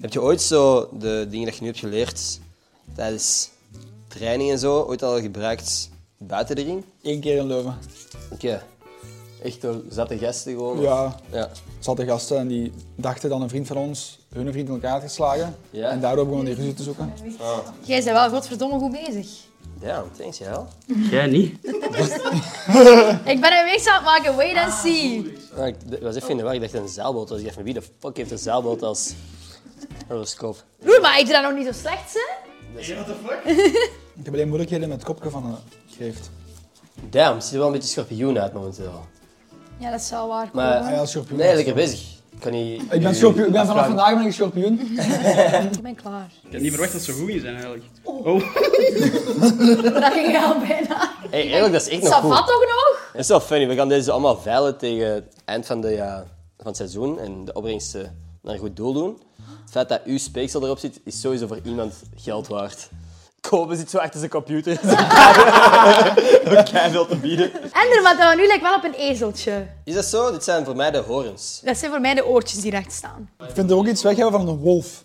S2: Heb je ooit zo de dingen dat je nu hebt geleerd tijdens training en zo, ooit al gebruikt buiten de ring?
S3: Eén keer in Leuven.
S2: Oké. Echt door zatte gasten gewoon?
S3: Ja.
S2: Ja.
S3: Zat de gasten en die dachten dan een vriend van ons, hun vriend in elkaar had geslagen.
S2: Ja.
S3: En daardoor begonnen die ruzie te zoeken.
S5: Jij bent wel godverdomme goed bezig.
S2: Damn, thanks, ja.
S4: Jij niet.
S5: Ik ben een week aan het maken, wait and see.
S2: Maar ik d- was even in de war, ik dacht dat het een zeilboot was. Ik dacht van wie de fuck heeft een zeilboot als horoscoop?
S5: Broer, maar ik doe dat nog niet zo slecht, hè?
S3: Ik heb alleen moeilijkheden met het kopje van een kreeft.
S2: Damn, het ziet er wel een beetje schorpioen uit momenteel.
S5: Ja, dat is wel waar.
S2: Maar-
S3: Ah ja, schorpioen.
S2: Nee, lekker bezig. Ik kan niet...
S3: Ik ben schorpioen. Ik ben vanaf vandaag ben ik schorpioen.
S5: Ik ben klaar.
S4: Ik had niet verwacht dat ze goed ging zijn eigenlijk. Oh,
S5: Dat ging al bijna.
S2: Hey, eigenlijk, dat is echt nog goed.
S5: Savat toch nog?
S2: Dat is wel funny. We gaan deze allemaal veilen tegen het eind van, de, ja, van het seizoen en de opbrengsten naar een goed doel doen. Het feit dat uw speeksel erop zit, is sowieso voor iemand geld waard. Kopen zit zo achter zijn [LAUGHS] computer. Oké, veel te bieden.
S5: En er, want we nu lijkt wel op een ezeltje.
S2: Is dat zo? Dit zijn voor mij de horens.
S5: Dat zijn voor mij de oortjes die recht staan.
S3: Ik vind er ook iets weg hebben van een wolf.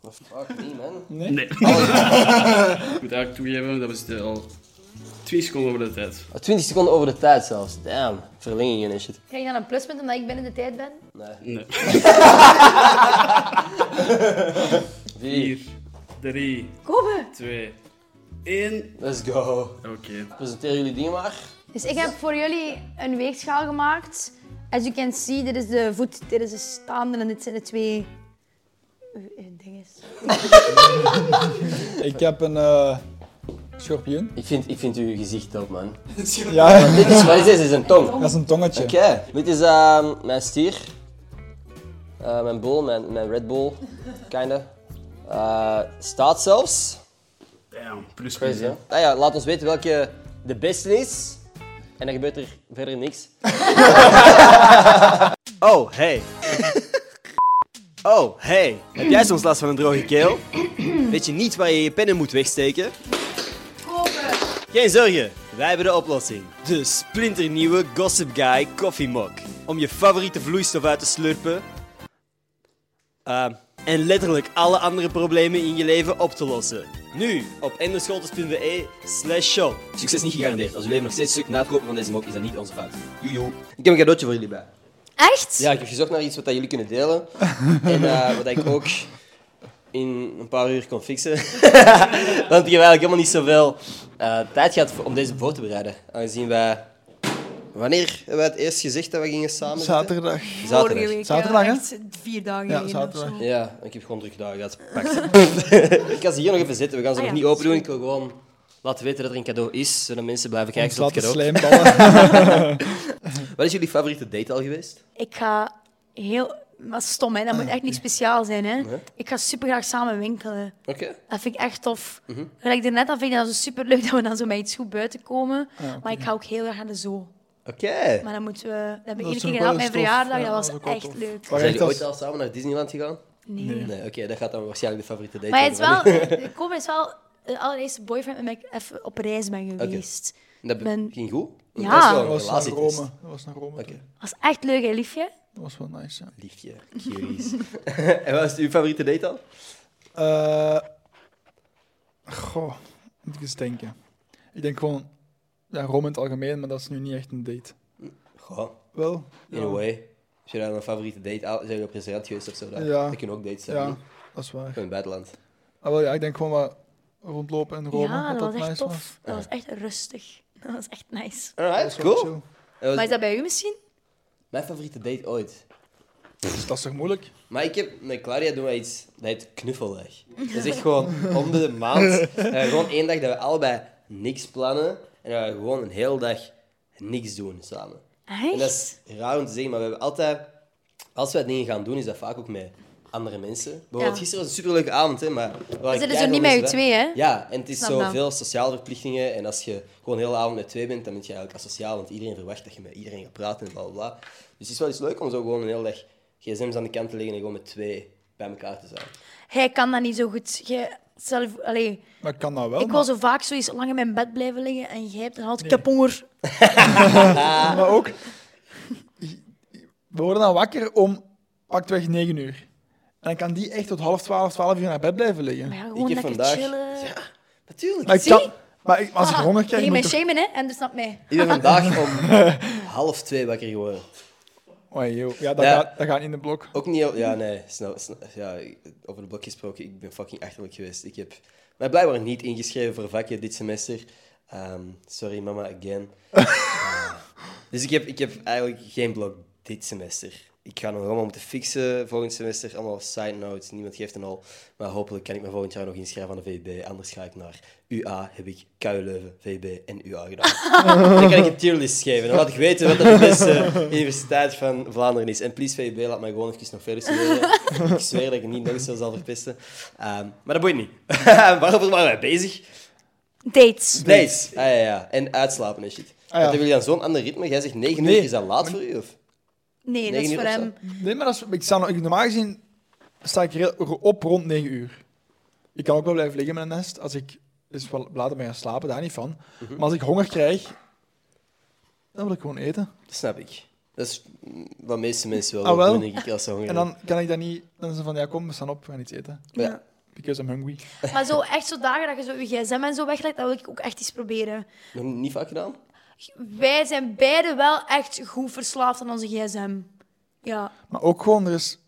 S2: Oh, Fuck me, man.
S4: nee. ik Oh, [LAUGHS] moet eigenlijk toegeven dat we zitten al twee seconden over de tijd.
S2: 20 Oh, seconden over de tijd zelfs. Damn. Verlengingen en shit.
S5: Krijg je dan een pluspunt omdat ik binnen de tijd ben?
S4: Nee.
S2: Vier.
S4: 4, 3,
S5: Kopen.
S4: 2, 1.
S2: Let's go.
S4: Oké.
S2: Presenteer jullie dingen maar.
S5: Dus ik heb voor jullie een weegschaal gemaakt. As you can see, dit is de voet, dit is de staande en dit zijn de twee eh, eh, dinges.
S3: Ik heb een eh schorpioen.
S2: Ik vind, ik vind uw gezicht dope, man.
S3: Ja, [LAUGHS]
S2: Dit is, wat is dit? Dit is een tong.
S3: dat is een tongetje.
S2: Oké, dit is ehm, mijn stier. Eh, mijn bull, mijn, mijn red bull, kinda. Eh, staat zelfs.
S4: Damn, plus
S2: Crazy, hè?
S4: plus.
S2: Nou ja, laat ons weten welke de beste is. En dan gebeurt er verder niks. oh, hey. Oh, hey. Heb jij soms last van een droge keel? Weet je niet waar je je pennen moet wegsteken? Geen zorgen, wij hebben de oplossing. De splinternieuwe Gossip Guy Coffee Mug. Om je favoriete vloeistof uit te slurpen. eh, en letterlijk alle andere problemen in je leven op te lossen. Nu op enderschotters.be slash shop. Succes niet gegarandeerd. Als jullie nog steeds stuk na het kopen van deze mok, is dat niet onze fout. Joejoe. Ik heb een cadeautje voor jullie bij.
S5: Echt?
S2: Ja, ik heb gezocht naar iets wat dat jullie kunnen delen. en eh, wat ik ook in een paar uur kon fixen. [LAUGHS] Want ik heb eigenlijk helemaal niet zoveel eh, tijd gehad voor- om deze voor te bereiden. Aangezien wij... Wanneer hebben wij het eerst gezegd dat we gingen samen zitten?
S3: Zaterdag.
S2: Zaterdag.
S1: week.
S3: Zaterdag, hè?
S1: ja, echt vier dagen
S3: Ja,
S1: geleden of zo.
S3: zaterdag.
S2: Ja, ik heb gewoon druk dagen gehad. Pak. [LAUGHS] ik ga ze hier nog even zitten. We gaan ze
S1: Ah,
S2: nog
S1: ja.
S2: niet open doen. Ik wil gewoon laten weten dat er een cadeau is, zodat mensen blijven kijken naar het
S3: Slaat de
S2: cadeau.
S3: [LAUGHS] slijmballen.
S2: Wat is jullie favoriete date al geweest?
S1: Ik ga heel... Maar stom, hè? dat
S3: Ah,
S1: moet echt niet speciaal zijn. Hè?
S2: Nee.
S1: Ik ga super graag samen winkelen.
S2: Oké.
S1: Dat vind ik echt tof.
S3: Mhm.
S1: Gelijk daarnet, dat vind ik dat zo super leuk [LAUGHS] dat we dan zo met iets goed buiten komen.
S3: Ah,
S1: Maar ik ga ook heel erg naar de zoo.
S2: Oké.
S1: Maar dan moeten we... Dat hebben we
S3: is
S1: iedere keer
S3: ook
S1: gedaan op
S3: wel
S1: mijn
S3: eens tof.
S1: verjaardag.
S3: Ja,
S1: dat
S3: dat is
S1: was
S3: ook wel
S1: echt
S3: tof.
S1: leuk.
S3: Waar
S2: Zijn
S3: echt
S2: jullie
S3: als...
S2: ooit al samen naar Disneyland gegaan?
S1: Nee.
S2: Nee, oké, dat gaat dan waarschijnlijk de favoriete date
S1: Maar het is
S2: worden.
S1: wel... [LAUGHS] de Kobe is wel de allereerste boyfriend met wie ik even op reis ben geweest.
S2: [LAUGHS] Dat be-
S1: ben-
S2: ging goed?
S1: Ja.
S2: Dat is wel
S3: Dat
S2: een dus-
S3: was naar Rome.
S2: relatietest.
S3: Dat was naar Rome.
S2: Oké.
S3: toen.
S1: Dat was echt leuk, hè, liefje?
S3: Dat was wel nice, ja.
S2: Liefje, curies. [LAUGHS] en wat is uw favoriete date al?
S3: Eh, goh, moet ik eens denken. Ik denk gewoon, ja, Rome in het algemeen, maar dat is nu niet echt een date.
S2: Goh,
S3: Wel?
S2: in a way. Als je dan een favoriete date al, zijn jullie op restaurant geweest of zo? Dan,
S3: Ja.
S2: dat kunnen ook dates zijn.
S3: Ja,
S2: niet?
S3: dat is
S2: Of
S3: waar.
S2: In het buitenland.
S3: Ah, wel, ja, ik denk gewoon wat rondlopen in Rome.
S1: ja, dat was echt
S3: nice
S1: tof.
S3: was.
S1: Dat was echt rustig. [LAUGHS] Dat was echt nice.
S2: Alright,
S3: Dat was wel
S2: cool. Eh,
S3: chill.
S2: En wat is
S1: Maar is dat bij u misschien?
S2: Mijn favoriete date ooit?
S3: Dus dat is toch moeilijk?
S2: Maar ik heb met Claudia doen wij iets dat heet knuffeldag. Dat is echt gewoon om de maand. eh, gewoon één dag dat we allebei niks plannen. En dat we gewoon een hele dag niks doen samen. En dat is raar om te zeggen, maar we hebben altijd... Als wij dingen gaan doen, is dat vaak ook met andere mensen. Bijvoorbeeld
S1: Ja.
S2: gisteren was een superleuke avond, hè. Maar
S5: zitten zo niet met
S2: je
S5: je twee, hè?
S2: Ja, en het is
S5: Snap
S2: zo
S5: dat.
S2: veel sociale verplichtingen. En als je gewoon de hele avond met twee bent, dan ben je eigenlijk asociaal. Want iedereen verwacht dat je met iedereen gaat praten en bla bla bla. Dus het is wel eens leuk om zo gewoon een hele dag gsm's aan de kant te leggen en gewoon met twee bij elkaar te zijn.
S1: Hij kan dat niet zo goed. Jij, zelf, allee,
S3: Maar ik kan dat
S2: Oh,
S3: wel.
S1: ik wil zo vaak zoiets lang in mijn bed blijven liggen en jij hebt dan altijd ik heb honger.
S3: maar, maar ook, we worden dan wakker om pakweg 9 uur. En dan kan die echt tot half 12, 12 uur naar bed blijven liggen.
S1: Maar ja,
S2: ik
S1: gewoon
S2: heb
S1: lekker
S2: vandaag...
S1: chillen.
S2: Ja, natuurlijk.
S3: Maar, ik kan, maar ik-
S1: Ah,
S3: als ik honger
S1: Tegen
S3: krijg, moet
S1: mijn
S3: ik toch...
S1: shamen, hè? En dus snap mij.
S2: Ik ben vandaag om [LAUGHS] half twee wakker geworden.
S3: Oei, Oh, joh. Ja, dat,
S2: Ja.
S3: Gaat, dat gaat niet in de blok.
S2: Ook niet... heel- Ja, nee. Snel, snel- ja, over de blok gesproken, ik ben fucking achterlijk geweest. Ik heb mij blijkbaar niet ingeschreven voor vakken dit semester. Ehm, sorry, mama, again. Ehm, dus ik heb, ik heb eigenlijk geen blok dit semester. Ik ga nog allemaal moeten fixen volgend semester. Allemaal side notes, niemand geeft een al. Maar hopelijk kan ik me volgend jaar nog inschrijven aan de VB. Anders ga ik naar UA, heb ik KU Leuven, VB en UA gedaan. dan kan ik een tierlist geven. Dan laat ik weten wat de beste universiteit van Vlaanderen is. En please VB, laat mij gewoon even nog verder studeren. ik zweer dat ik het niet nog eens zo zal verpesten. Ehm, maar dat boeit niet. [LAUGHS] Waarover waren wij bezig?
S1: Dates.
S2: Dates. Ah, ja, ja. En uitslapen en shit.
S3: Ah, ja.
S2: Want hebben jullie dan zo'n ander ritme? Jij zegt 9
S3: Nee.
S2: uur, is dat laat voor u? Of?
S1: Nee, dat
S2: Negen
S1: is
S2: uur
S1: voor
S2: of
S1: hem.
S3: Nee, maar dat is, ik sta, nog- ik, normaal gezien sta ik heel- op rond 9 uur. Ik kan ook wel blijven liggen met een nest als ik is wel later ben gaan slapen, daar niet van.
S2: Mhm.
S3: Maar als ik honger krijg, dan wil ik gewoon eten.
S2: Dat snap ik. Dat is mm, wat meeste mensen wel,
S3: Ah, wel.
S2: doen, denk ik, als ze honger
S3: En dan kan ik dat niet. Dan is het van ja, kom, we staan op, we gaan iets eten.
S2: zijn. Ja.
S3: Because I'm hungry.
S1: Maar zo echt zo dagen dat je zo je gsm en zo weglegt, dat wil ik ook echt eens proberen.
S2: Nog niet vaak gedaan?
S1: Wij zijn beide wel echt goed verslaafd aan onze gsm. Ja.
S3: Maar ook gewoon, er is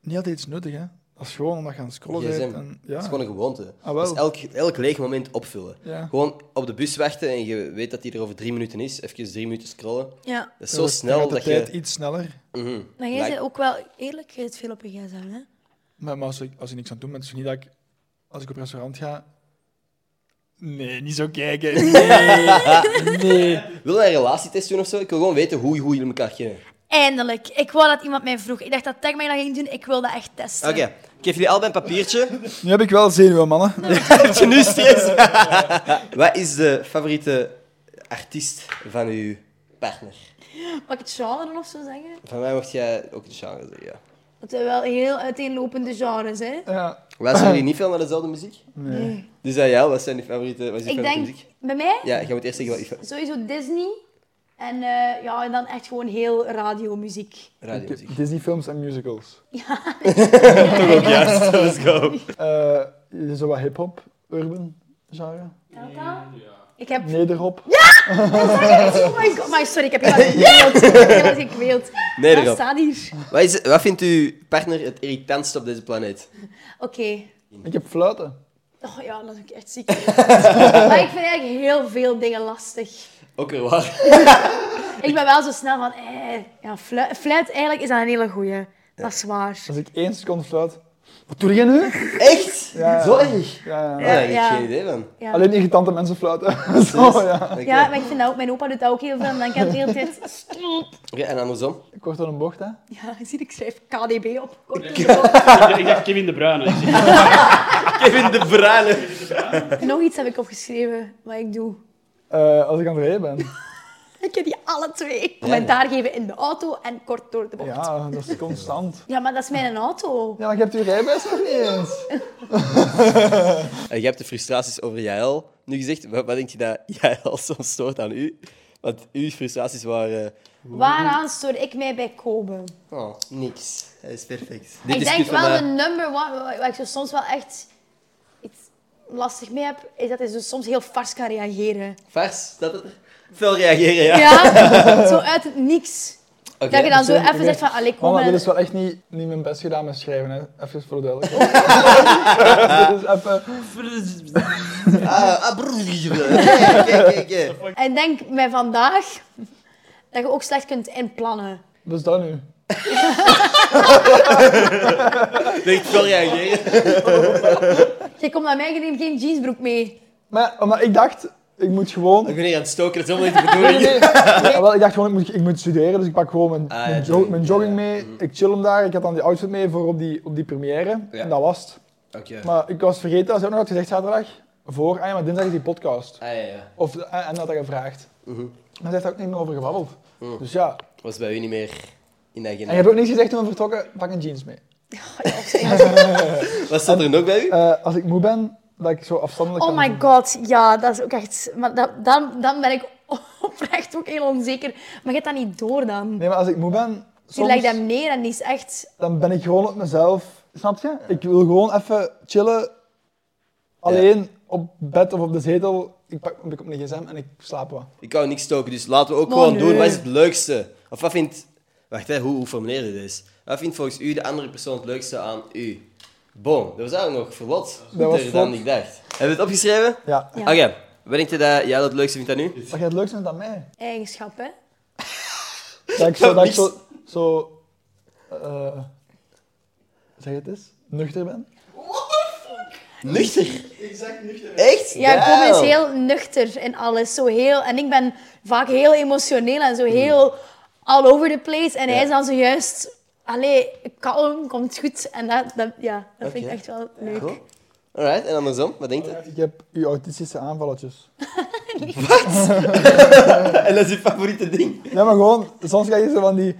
S3: niet altijd iets nuttig, hè? Dat is gewoon omdat je aan het scrollen
S2: GSM.
S3: bent. En,
S2: Dat
S3: ja.
S2: is gewoon een gewoonte.
S3: Ah, wel.
S2: Dus elk, elk leeg moment opvullen.
S3: Ja.
S2: Gewoon op de bus wachten en je weet dat die er over drie minuten is. Even drie minuten scrollen.
S1: Ja.
S2: Dat is
S3: Dan
S2: zo
S3: wordt- dan
S2: snel
S3: gaat de
S2: dat
S3: tijd
S2: je...
S3: iets sneller.
S2: Mhm.
S1: Maar jij
S2: Like-
S1: bent ook wel eerlijk, je zit veel op je gsm, hè?
S3: Maar, maar als, ik, als ik niks aan het doen ben, is het niet dat ik... Als ik op restaurant ga... Nee, niet zo kijken. Nee. nee.
S2: Wil je een relatietest doen of zo? Ik wil gewoon weten hoe, hoe jullie elkaar kennen.
S1: Eindelijk. Ik wou dat iemand mij vroeg. Ik dacht dat Tag mij dat ging doen. Ik wil dat echt testen.
S2: Oké, ik geef jullie allebei een papiertje. [LAUGHS]
S3: Nu heb ik wel zenuwen, mannen.
S2: Heb je nu stress? [LAUGHS] Wat is de favoriete artiest van uw partner?
S5: Mag ik het genre dan of zo zeggen?
S2: Van mij mocht jij ook de genre zeggen, ja.
S5: Dat zijn wel heel uiteenlopende genres, hè?
S3: Ja.
S2: Luisteren jullie niet veel naar dezelfde muziek?
S3: Nee.
S2: Dus aan jou, wat zijn je favoriete, wat is je
S5: Ik
S2: favoriete
S5: denk,
S2: muziek?
S5: bij mij,
S2: Ja, jij moet eerst zeggen wat je fa-
S5: sowieso Disney. En eh, ja, en dan echt gewoon heel radiomuziek.
S3: [LAUGHS]
S2: radiomuziek.
S3: Disney-films en musicals.
S2: Yes, let's go.
S3: Eh zo wat hip-hop, urban genre.
S5: Telt dat? Ik heb...
S3: Nederhop.
S5: Oh my god, maar sorry, ik heb heel
S2: [LAUGHS]
S5: gekweeld. Ik heb heel hard gekweeld.
S2: Nee,
S5: Wat
S2: erop.
S5: staat hier?
S2: Wat, is, wat vindt uw partner het irritantste op deze planeet?
S5: Oké.
S3: Ik heb fluiten.
S5: Oh ja, dat is ook echt
S2: [LAUGHS]
S5: ziek. maar ik vind eigenlijk heel veel dingen lastig.
S2: Ook weer waar.
S5: Ik ben wel zo snel van, eh, ja, fluit, fluit eigenlijk is dat een hele goeie. Dat is waar.
S3: Als ik één seconde fluit... Wat doe jij nu?
S2: Echt?
S3: Ja.
S2: Zo erg?
S3: Ja, ja.
S2: Oh, daar heb ik
S5: ja.
S2: geen idee van.
S5: Ja.
S3: Alleen irritante mensen fluiten. [LAUGHS] zo, ja.
S2: Oké.
S5: Ja, maar ik vind dat ook, mijn opa doet dat ook heel veel en dan kan ik de hele tijd... stop.
S2: Oké, en andersom?
S3: Kort door een bocht, hè.
S5: Ja, [LAUGHS] zie, ik schrijf KDB op. Kort.
S4: Ik, ik dacht Kevin de Bruyne. Ik zeg,
S2: Kevin de Bruyne.
S5: [LAUGHS] Nog iets heb ik opgeschreven, wat ik doe.
S3: Eh, als ik aan het rijden ben.
S5: Ik heb die alle twee. Commentaar geven in de auto en kort door de bocht. Ja,
S3: Ja, dat is constant.
S5: maar dat is mijn auto.
S3: Ja, maar je hebt je rijbewijs nog niet eens.
S2: Eh, je hebt de frustraties over Jael nu gezegd. Wat, wat denk je dat Jael [LAUGHS] soms stoort aan u? Want uw frustraties waren...
S5: Waaraan stoor ik mij bij Kobe?
S2: Oh, niks. Hij is perfect.
S5: ik denk wel de number one, waar waar ik zo soms wel echt iets lastig mee heb, is dat hij zo soms heel fars kan reageren.
S2: Vers, dat het... Veel reageren, ja.
S5: Ja, [LAUGHS] zo uit het niks.
S2: Oké.
S5: Dat je dan zo
S3: Oké.
S5: even zegt van, allee, kom
S3: Mama, Oh, dit
S5: en...
S3: is wel echt niet, niet mijn best gedaan met schrijven, hè. Even voor de duidelijkheid.
S2: [LAUGHS]
S3: [LAUGHS] dit is even...
S2: Ah, ah, brrr. Oké, oké, [LAUGHS] oké.
S5: En denk mij vandaag dat je ook slecht kunt inplannen.
S3: Wat is dus dat nu?
S2: Denk wel reageren.
S1: Jij komt naar mij, je neemt geen jeansbroek mee.
S3: Maar omdat ik dacht, ik moet gewoon...
S2: Ik ben hier aan het stoken, dat is helemaal niet de bedoeling.
S3: Ja, wel, ik dacht gewoon, ik moet, ik moet studeren, dus ik pak gewoon mijn,
S2: Ah, ja,
S3: mijn, jo-
S2: jogging,
S3: mijn jogging
S2: ja. Mm.
S3: mee. Ik chill hem daar. Ik had dan die outfit mee voor op die, op die première.
S2: Ja.
S3: En dat was het.
S2: Oké.
S3: Maar ik was vergeten, dat ze ook nog had gezegd zaterdag, voor, ah ja, maar dinsdag is die podcast.
S2: Ah ja, ja.
S3: Of, eh, en, en had dat gevraagd.
S2: Mhm.
S3: Maar ze heeft daar ook niet meer over gebabbeld.
S2: Mhm.
S3: Dus ja.
S2: Was bij u niet meer in de
S3: En je hebt
S2: agenda.
S3: ook niks gezegd toen we vertrokken, pak een jeans mee.
S2: Wat staat er nog bij u?
S3: Eh, als ik moe ben, dat ik zo afstandelijk
S1: Oh
S3: kan
S1: my god, ja, dat is ook echt... Maar dat, dan, dan ben ik [LAUGHS] oprecht ook heel onzeker. Maar je hebt dat niet door dan.
S3: Nee, maar als ik moe ben,
S1: Je
S3: soms,
S1: legt dat neer en die is echt...
S3: dan ben ik gewoon op mezelf. Snap je? Ik wil gewoon even chillen. Alleen op bed of op de zetel. Ik pak ik op mijn gsm en ik slaap wat.
S2: Ik kan niks stoken, dus laten we ook
S1: Oh,
S2: gewoon
S1: nee.
S2: doen. Wat is het leukste? Of wat vindt... Wacht, hè, hoe, hoe formuleer je deze? Wat vindt volgens u de andere persoon het leukste aan u? Boom, dat was eigenlijk nog verlot.
S3: was
S2: Beter dan
S3: vlot.
S2: ik dacht. Hebben we het opgeschreven?
S3: Ja.
S1: Ja.
S2: Oké, wat denk je dat jij dat het leukste vindt aan u?
S3: Wat jij het leukste vindt aan mij?
S1: Eigenschap, hè?
S3: Dat ik
S2: Dat
S3: zo... [LAUGHS] Dat ik
S2: liefst.
S3: zo, zo eh, zeg het eens. Nuchter ben.
S2: Nuchter. Exact nuchter. Echt?
S1: Ja,
S2: Damn.
S1: Kobe is heel nuchter in alles. Zo heel, en ik ben vaak heel emotioneel en zo heel all over the place. En
S2: Hmm. Ja.
S1: hij is dan zojuist... Allee, kalm, komt goed. En dat, dat, ja, dat vind ik
S2: Oké.
S1: echt wel leuk.
S2: Cool. Alright, en andersom, wat denkt je?
S3: Ik heb uw autistische aanvalletjes.
S2: [LAUGHS] En dat is je favoriete ding.
S3: Ja, maar gewoon, soms krijg je zo van die...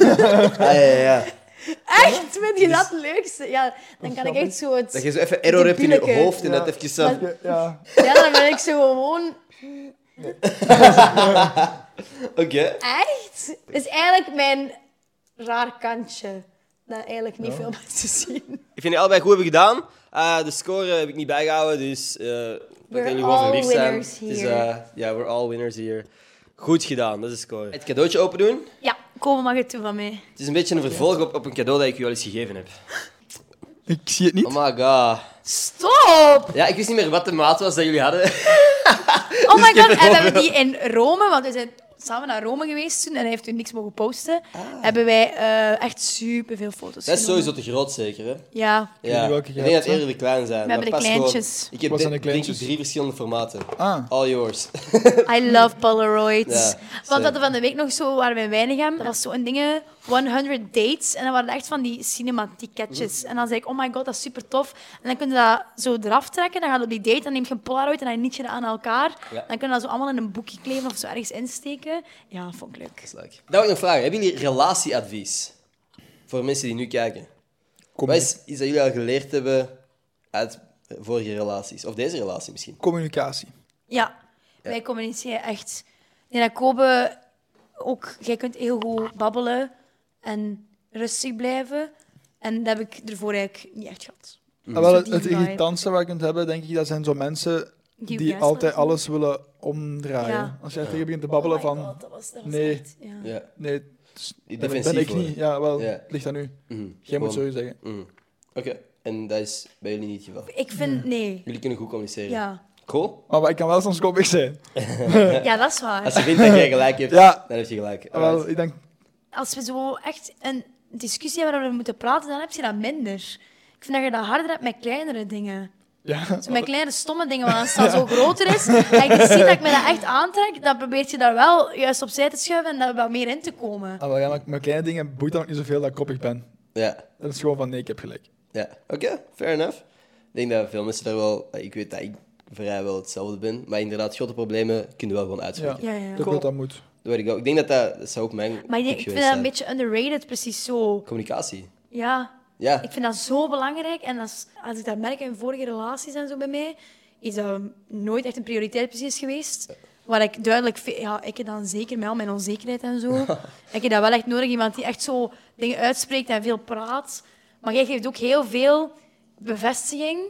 S2: Ah, ja, ja, ja.
S1: Echt? Vind je dat het leukste? Ja, dan kan ik echt zo het...
S2: Dat je zo even error hebt in je
S1: Debieleke.
S2: hoofd en dat eventjes zo...
S1: Maar-
S3: Ja,
S1: Ja, dan ben ik zo gewoon
S2: Oké.
S1: echt. Dat is eigenlijk mijn raar kantje. Dat eigenlijk niet veel mensen zien.
S2: Ik vind die allebei goed hebben gedaan. Eh, de score heb ik niet bijgehouden, dus eh we kunnen gewoon
S1: all
S2: verliefd zijn.
S1: winners
S2: Het is,
S1: here.
S2: eh, ja, we're all winners here. Goed gedaan, dat is de score. Het cadeautje open doen.
S1: Ja, kom mag het toe van mij.
S2: Het is een beetje een vervolg op, op een cadeau dat ik u al eens gegeven heb.
S3: ik zie het niet.
S2: Oh my god.
S1: Stop!
S2: Ja, ik wist niet meer wat de maat was dat jullie hadden.
S1: Oh
S2: [LAUGHS]
S1: my
S2: heb
S1: god, en
S2: het
S1: we
S2: over.
S1: hebben die in Rome, want we zijn samen naar Rome geweest toen en hij heeft toen niks mogen posten. Hebben wij eh, echt super veel foto's
S2: Ah. Dat is
S1: genomen.
S2: sowieso te groot, zeker. Hè?
S1: Ja,
S2: Ja.
S3: niet welke
S2: Ik
S3: je
S2: denk
S3: hebt,
S2: dat
S3: hè?
S2: eerder de klein zijn.
S1: we hebben de
S2: maar past gewoon.
S1: kleintjes.
S2: Ik heb
S3: Wat zijn
S2: de-
S3: de
S2: denk ik
S3: kleintjes?
S2: drie verschillende formaten.
S3: Ah.
S2: All yours.
S1: I love Polaroids.
S2: Ja,
S1: Want dat
S2: same.
S1: er van de week nog zo waren we in Weinigem. Dat was zo'n dingen, 100 dates. En dan waren echt van die cinematieketjes. En dan zei ik, oh my god, dat is super tof. En dan kun je dat zo eraf trekken. Dan gaat op die date, dan neem je een Polaroid en dan niet je dat aan elkaar.
S2: Ja.
S1: Dan kun je dat zo allemaal in een boekje kleven of zo ergens insteken. Ja, vond ik leuk.
S2: Dat wil ik nog vragen. Hebben jullie relatieadvies? Voor mensen die nu kijken.
S3: Commu-
S2: Wat is iets dat jullie al geleerd hebben uit vorige relaties? Of deze relatie misschien?
S3: Communicatie.
S1: Ja, wij communiceren echt. Nina Kobe, ook, jij kunt heel goed babbelen en rustig blijven. En dat heb ik ervoor eigenlijk niet echt gehad.
S3: Ah, wel, het,
S1: die
S3: het
S1: vibe.
S3: irritantste wat je kunt hebben, denk ik, dat zijn zo mensen
S1: Die
S3: die,
S1: gaslighten.
S3: altijd alles willen omdraaien.
S1: Ja.
S3: Als je echt tegen begint te babbelen
S1: Oh my
S3: van,
S1: God, dat was, dat was
S3: nee.
S1: echt- ja.
S2: Ja.
S3: nee, het is- dat
S2: Defensief
S3: ben ik
S2: worden.
S3: niet. Ja, wel,
S2: Ja.
S3: ligt aan u.
S2: Mhm.
S3: Jij moet
S2: Gewoon.
S3: zo zeggen.
S2: Mhm. Oké, en dat is bij jullie niet het geval.
S1: Ik vind, nee.
S2: Jullie kunnen goed communiceren.
S1: Ja.
S2: Cool.
S3: Maar, maar ik kan wel soms koppig zijn.
S1: ja, dat is waar.
S2: Als je vindt dat jij gelijk hebt,
S3: [LAUGHS] Ja.
S2: dan heb je gelijk.
S3: Ah, wel,
S2: Alright.
S3: ik denk,
S1: Als we zo echt een discussie hebben waar we moeten praten, dan heb je dat minder. Ik vind dat je dat harder hebt met kleinere dingen.
S3: ja,
S1: Zo met kleine stomme dingen, want als het dan zo groter is en je ziet dat ik me dat echt aantrek, dan probeert je daar wel juist opzij te schuiven en daar wat meer in te komen.
S3: ah, wel, ja, maar mijn kleine dingen boeit dan ook niet zoveel dat ik koppig ben.
S2: Ja,
S3: Dat is gewoon van, nee, ik heb gelijk.
S2: ja. oké, fair enough. Ik denk dat veel mensen daar wel... Ik weet dat ik vrijwel hetzelfde ben, maar inderdaad, grote problemen kunnen wel gewoon
S3: Ja,
S2: uitspreken.
S1: Ja,
S3: ja,
S1: ja.
S3: Ik denk dat dat moet.
S2: Dat weet ik wel. Ik denk dat dat, dat zou ook mijn
S1: Maar ik
S2: tip
S1: ik vind
S2: geweest
S1: dat een
S2: zijn.
S1: beetje underrated, precies zo.
S2: Communicatie.
S1: Ja,
S2: Ja,
S1: Ik vind dat zo belangrijk. En dat is- als ik dat merk in vorige relaties en zo bij mij, is dat nooit echt een prioriteit precies geweest. Waar ik duidelijk... ve- Ja, ik heb dan zeker met al mijn onzekerheid en
S3: [LAUGHS]
S1: zo. ik heb dat wel echt nodig. Iemand die echt zo dingen uitspreekt en veel praat. Maar jij geeft ook heel veel bevestiging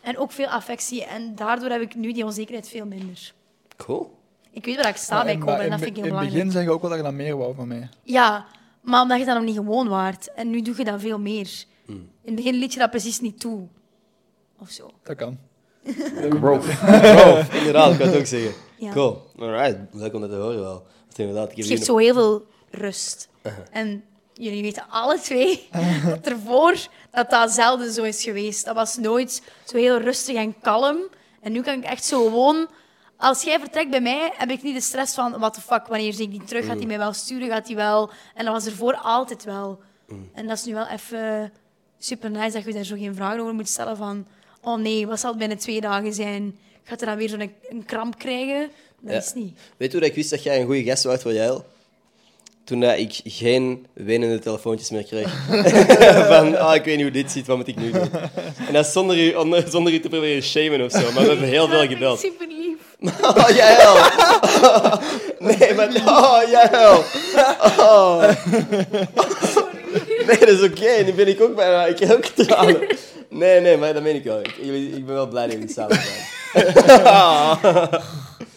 S1: en ook veel affectie. En daardoor heb ik nu die onzekerheid veel minder.
S2: cool.
S1: Ik weet waar ik sta bij
S3: Maar-
S1: Kobe
S3: maar
S1: en
S3: in
S1: dat
S3: be-
S1: vind ik heel
S3: In het
S1: belangrijk.
S3: begin zeg je ook wel dat je dan meer wou van mij.
S1: Ja, maar omdat je dat nog niet gewoon waard. En nu doe je dat veel meer. In het begin liet je dat precies niet toe. Of zo.
S3: Dat
S2: [LAUGHS]
S3: kan.
S2: Growth, inderdaad, ik kan het ook zeggen.
S1: [LAUGHS] Ja.
S2: Cool, alright. Leuk om dat te horen wel. Want inderdaad, ik heb
S1: Het
S2: hier
S1: geeft
S2: nog-
S1: zo heel veel rust. En jullie weten alle twee, dat ervoor dat dat zelden zo is geweest. Dat was nooit zo heel rustig en kalm. En nu kan ik echt zo gewoon... Als jij vertrekt bij mij, heb ik niet de stress van... What the fuck, wanneer zie ik die terug? Gaat hij mij wel sturen? Gaat hij wel... En dat was ervoor altijd wel. En dat is nu wel even super nice dat je daar zo geen vragen over moet stellen van... Oh nee, wat zal het binnen twee dagen zijn? Gaat er dan weer zo'n een kramp krijgen? Dat
S2: Ja.
S1: is niet.
S2: Weet je hoe dat ik wist dat jij een goede gast was voor jij? Toen dat ik geen wenende telefoontjes meer
S1: [LAUGHS]
S2: kreeg. [LAUGHS] van, ah, ik weet niet hoe dit zit, wat moet ik nu doen? En dat is zonder u, onder- zonder u te proberen shamen of zo. Maar we hebben heel veel gebeld.
S1: Super lief.
S2: [LAUGHS] Oh, jij wel. Nee, maar... Oh, jij wel. Oh. Nee, dat is oké. Nu ben ik ook
S1: [LAUGHS]
S2: bijna... Ik heb ook tranen. Nee, nee, maar dat meen ik wel. Ik, jullie- ik ben wel blij dat jullie samen zijn.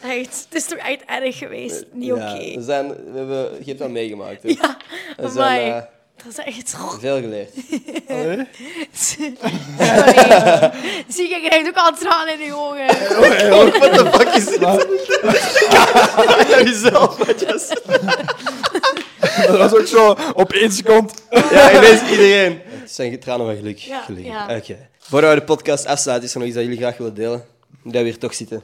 S1: Echt, het is toch echt erg geweest? [LAUGHS] Niet oké.
S2: Ja, dus- we zijn... We hebben, je hebt dat meegemaakt. hè?
S1: Ja,
S2: we zijn
S1: amai.
S2: eh,
S1: Dat is echt...
S2: veel
S1: [LAUGHS]
S2: geleerd.
S3: Allee?
S1: Sorry. Zie, je krijgt ook al tranen in je ogen.
S2: Oh, What the fuck is dit?
S3: Maar-
S2: Aan jezelf.
S3: Dat was ook zo op één seconde.
S2: [LAUGHS] Ja, ineens iedereen. Het zijn tranen van geluk.
S1: Ja,
S2: gelukkig.
S1: ja.
S2: Oké. Voordat we de podcast afsluiten, is er nog iets dat jullie graag willen delen. Dat we hier toch zitten.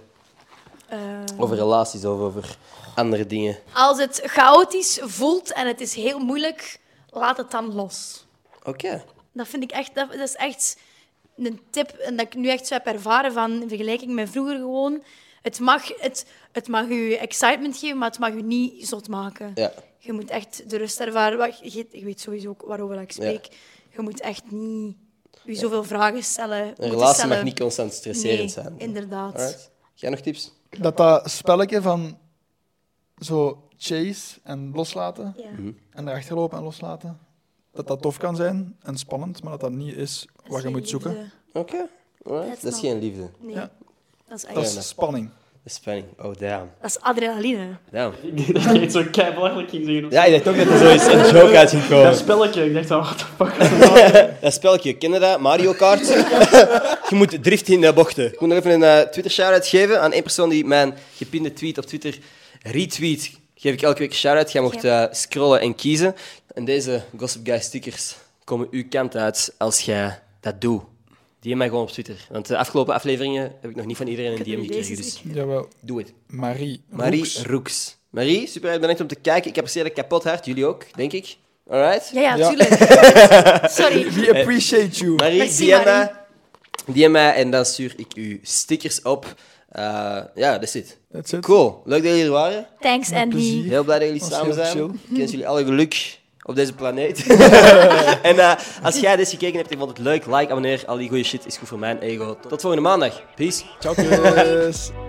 S1: Eh,
S2: Over relaties of over andere dingen.
S1: als het chaotisch voelt en het is heel moeilijk, laat het dan los.
S2: Oké.
S1: Dat vind ik echt, dat, dat is echt een tip en dat ik nu echt zo heb ervaren van in vergelijking met vroeger gewoon. Het mag, het, het mag je excitement geven, maar het mag je niet zot maken.
S2: Ja.
S1: Je moet echt de rust ervaren. Wacht, Je, je weet sowieso ook waarover ik spreek. Je moet echt niet je zoveel vragen stellen.
S2: Een
S1: moeten
S2: relatie
S1: stellen.
S2: mag niet constant stresserend
S1: Nee,
S2: zijn.
S1: inderdaad.
S2: Alright. Jij nog tips?
S3: Dat dat spelletje van zo chase en loslaten
S1: Ja.
S2: Mhm.
S3: en erachter lopen en loslaten, dat dat tof kan zijn en spannend, maar dat dat niet is
S1: Dat
S3: wat
S1: is
S3: je moet
S1: geen
S3: zoeken.
S1: liefde.
S2: Oké. Alright.
S1: That's
S2: Dat is
S1: not-
S2: geen liefde.
S1: Nee,
S3: Ja.
S1: dat is
S3: Dat
S1: echt...
S3: is spanning.
S2: Dat is spanning. Oh, damn.
S1: Dat is adrenaline.
S2: Damn.
S6: Ik dacht dat je iets zo kei belachelijk ging zeggen.
S2: Ja, ik dacht ook dat er zoiets een joke uit ging komen.
S6: Dat spelletje, ik dacht, van, what the fuck.
S2: Dat spelletje, kennen dat? Mario Kart. [LAUGHS] je moet driften in de bochten. Ik moet nog even een eh, Twitter shout-out geven aan één persoon die mijn gepinde tweet op Twitter retweet. Geef ik elke week een shout-out. Jij mocht eh, scrollen en kiezen. En deze Gossip Guy stickers komen uw kant uit als jij dat doet. DM mij gewoon op Twitter. Want de afgelopen afleveringen heb ik nog niet van iedereen een DM gekregen. Dus
S3: Jawel,
S2: doe het.
S3: Marie.
S2: Marie Eh,
S3: Roeks.
S2: Roeks. Marie, super bedankt om te kijken. Ik apprecieer dat kapot hard. Jullie ook, denk ik. Alright.
S1: Ja, ja,
S3: Ja.
S1: tuurlijk.
S2: [LAUGHS]
S1: Sorry.
S3: We appreciate you.
S2: Marie,
S1: Merci,
S2: DM mij. DM mij en dan stuur ik u stickers op. Eh, ja, dat is het.
S3: That's it.
S2: Cool. Leuk dat jullie er waren.
S1: Thanks, Andy.
S3: plezier.
S2: Heel blij dat jullie
S3: Was
S2: samen
S3: heel
S2: zijn.
S3: chill.
S2: Ik wens jullie alle geluk op deze planeet. en eh, als jij deze gekeken hebt en je vond het leuk, like, abonneer. Al die goede shit is goed voor mijn ego. Tot volgende maandag. Peace.
S3: Ciao, kus.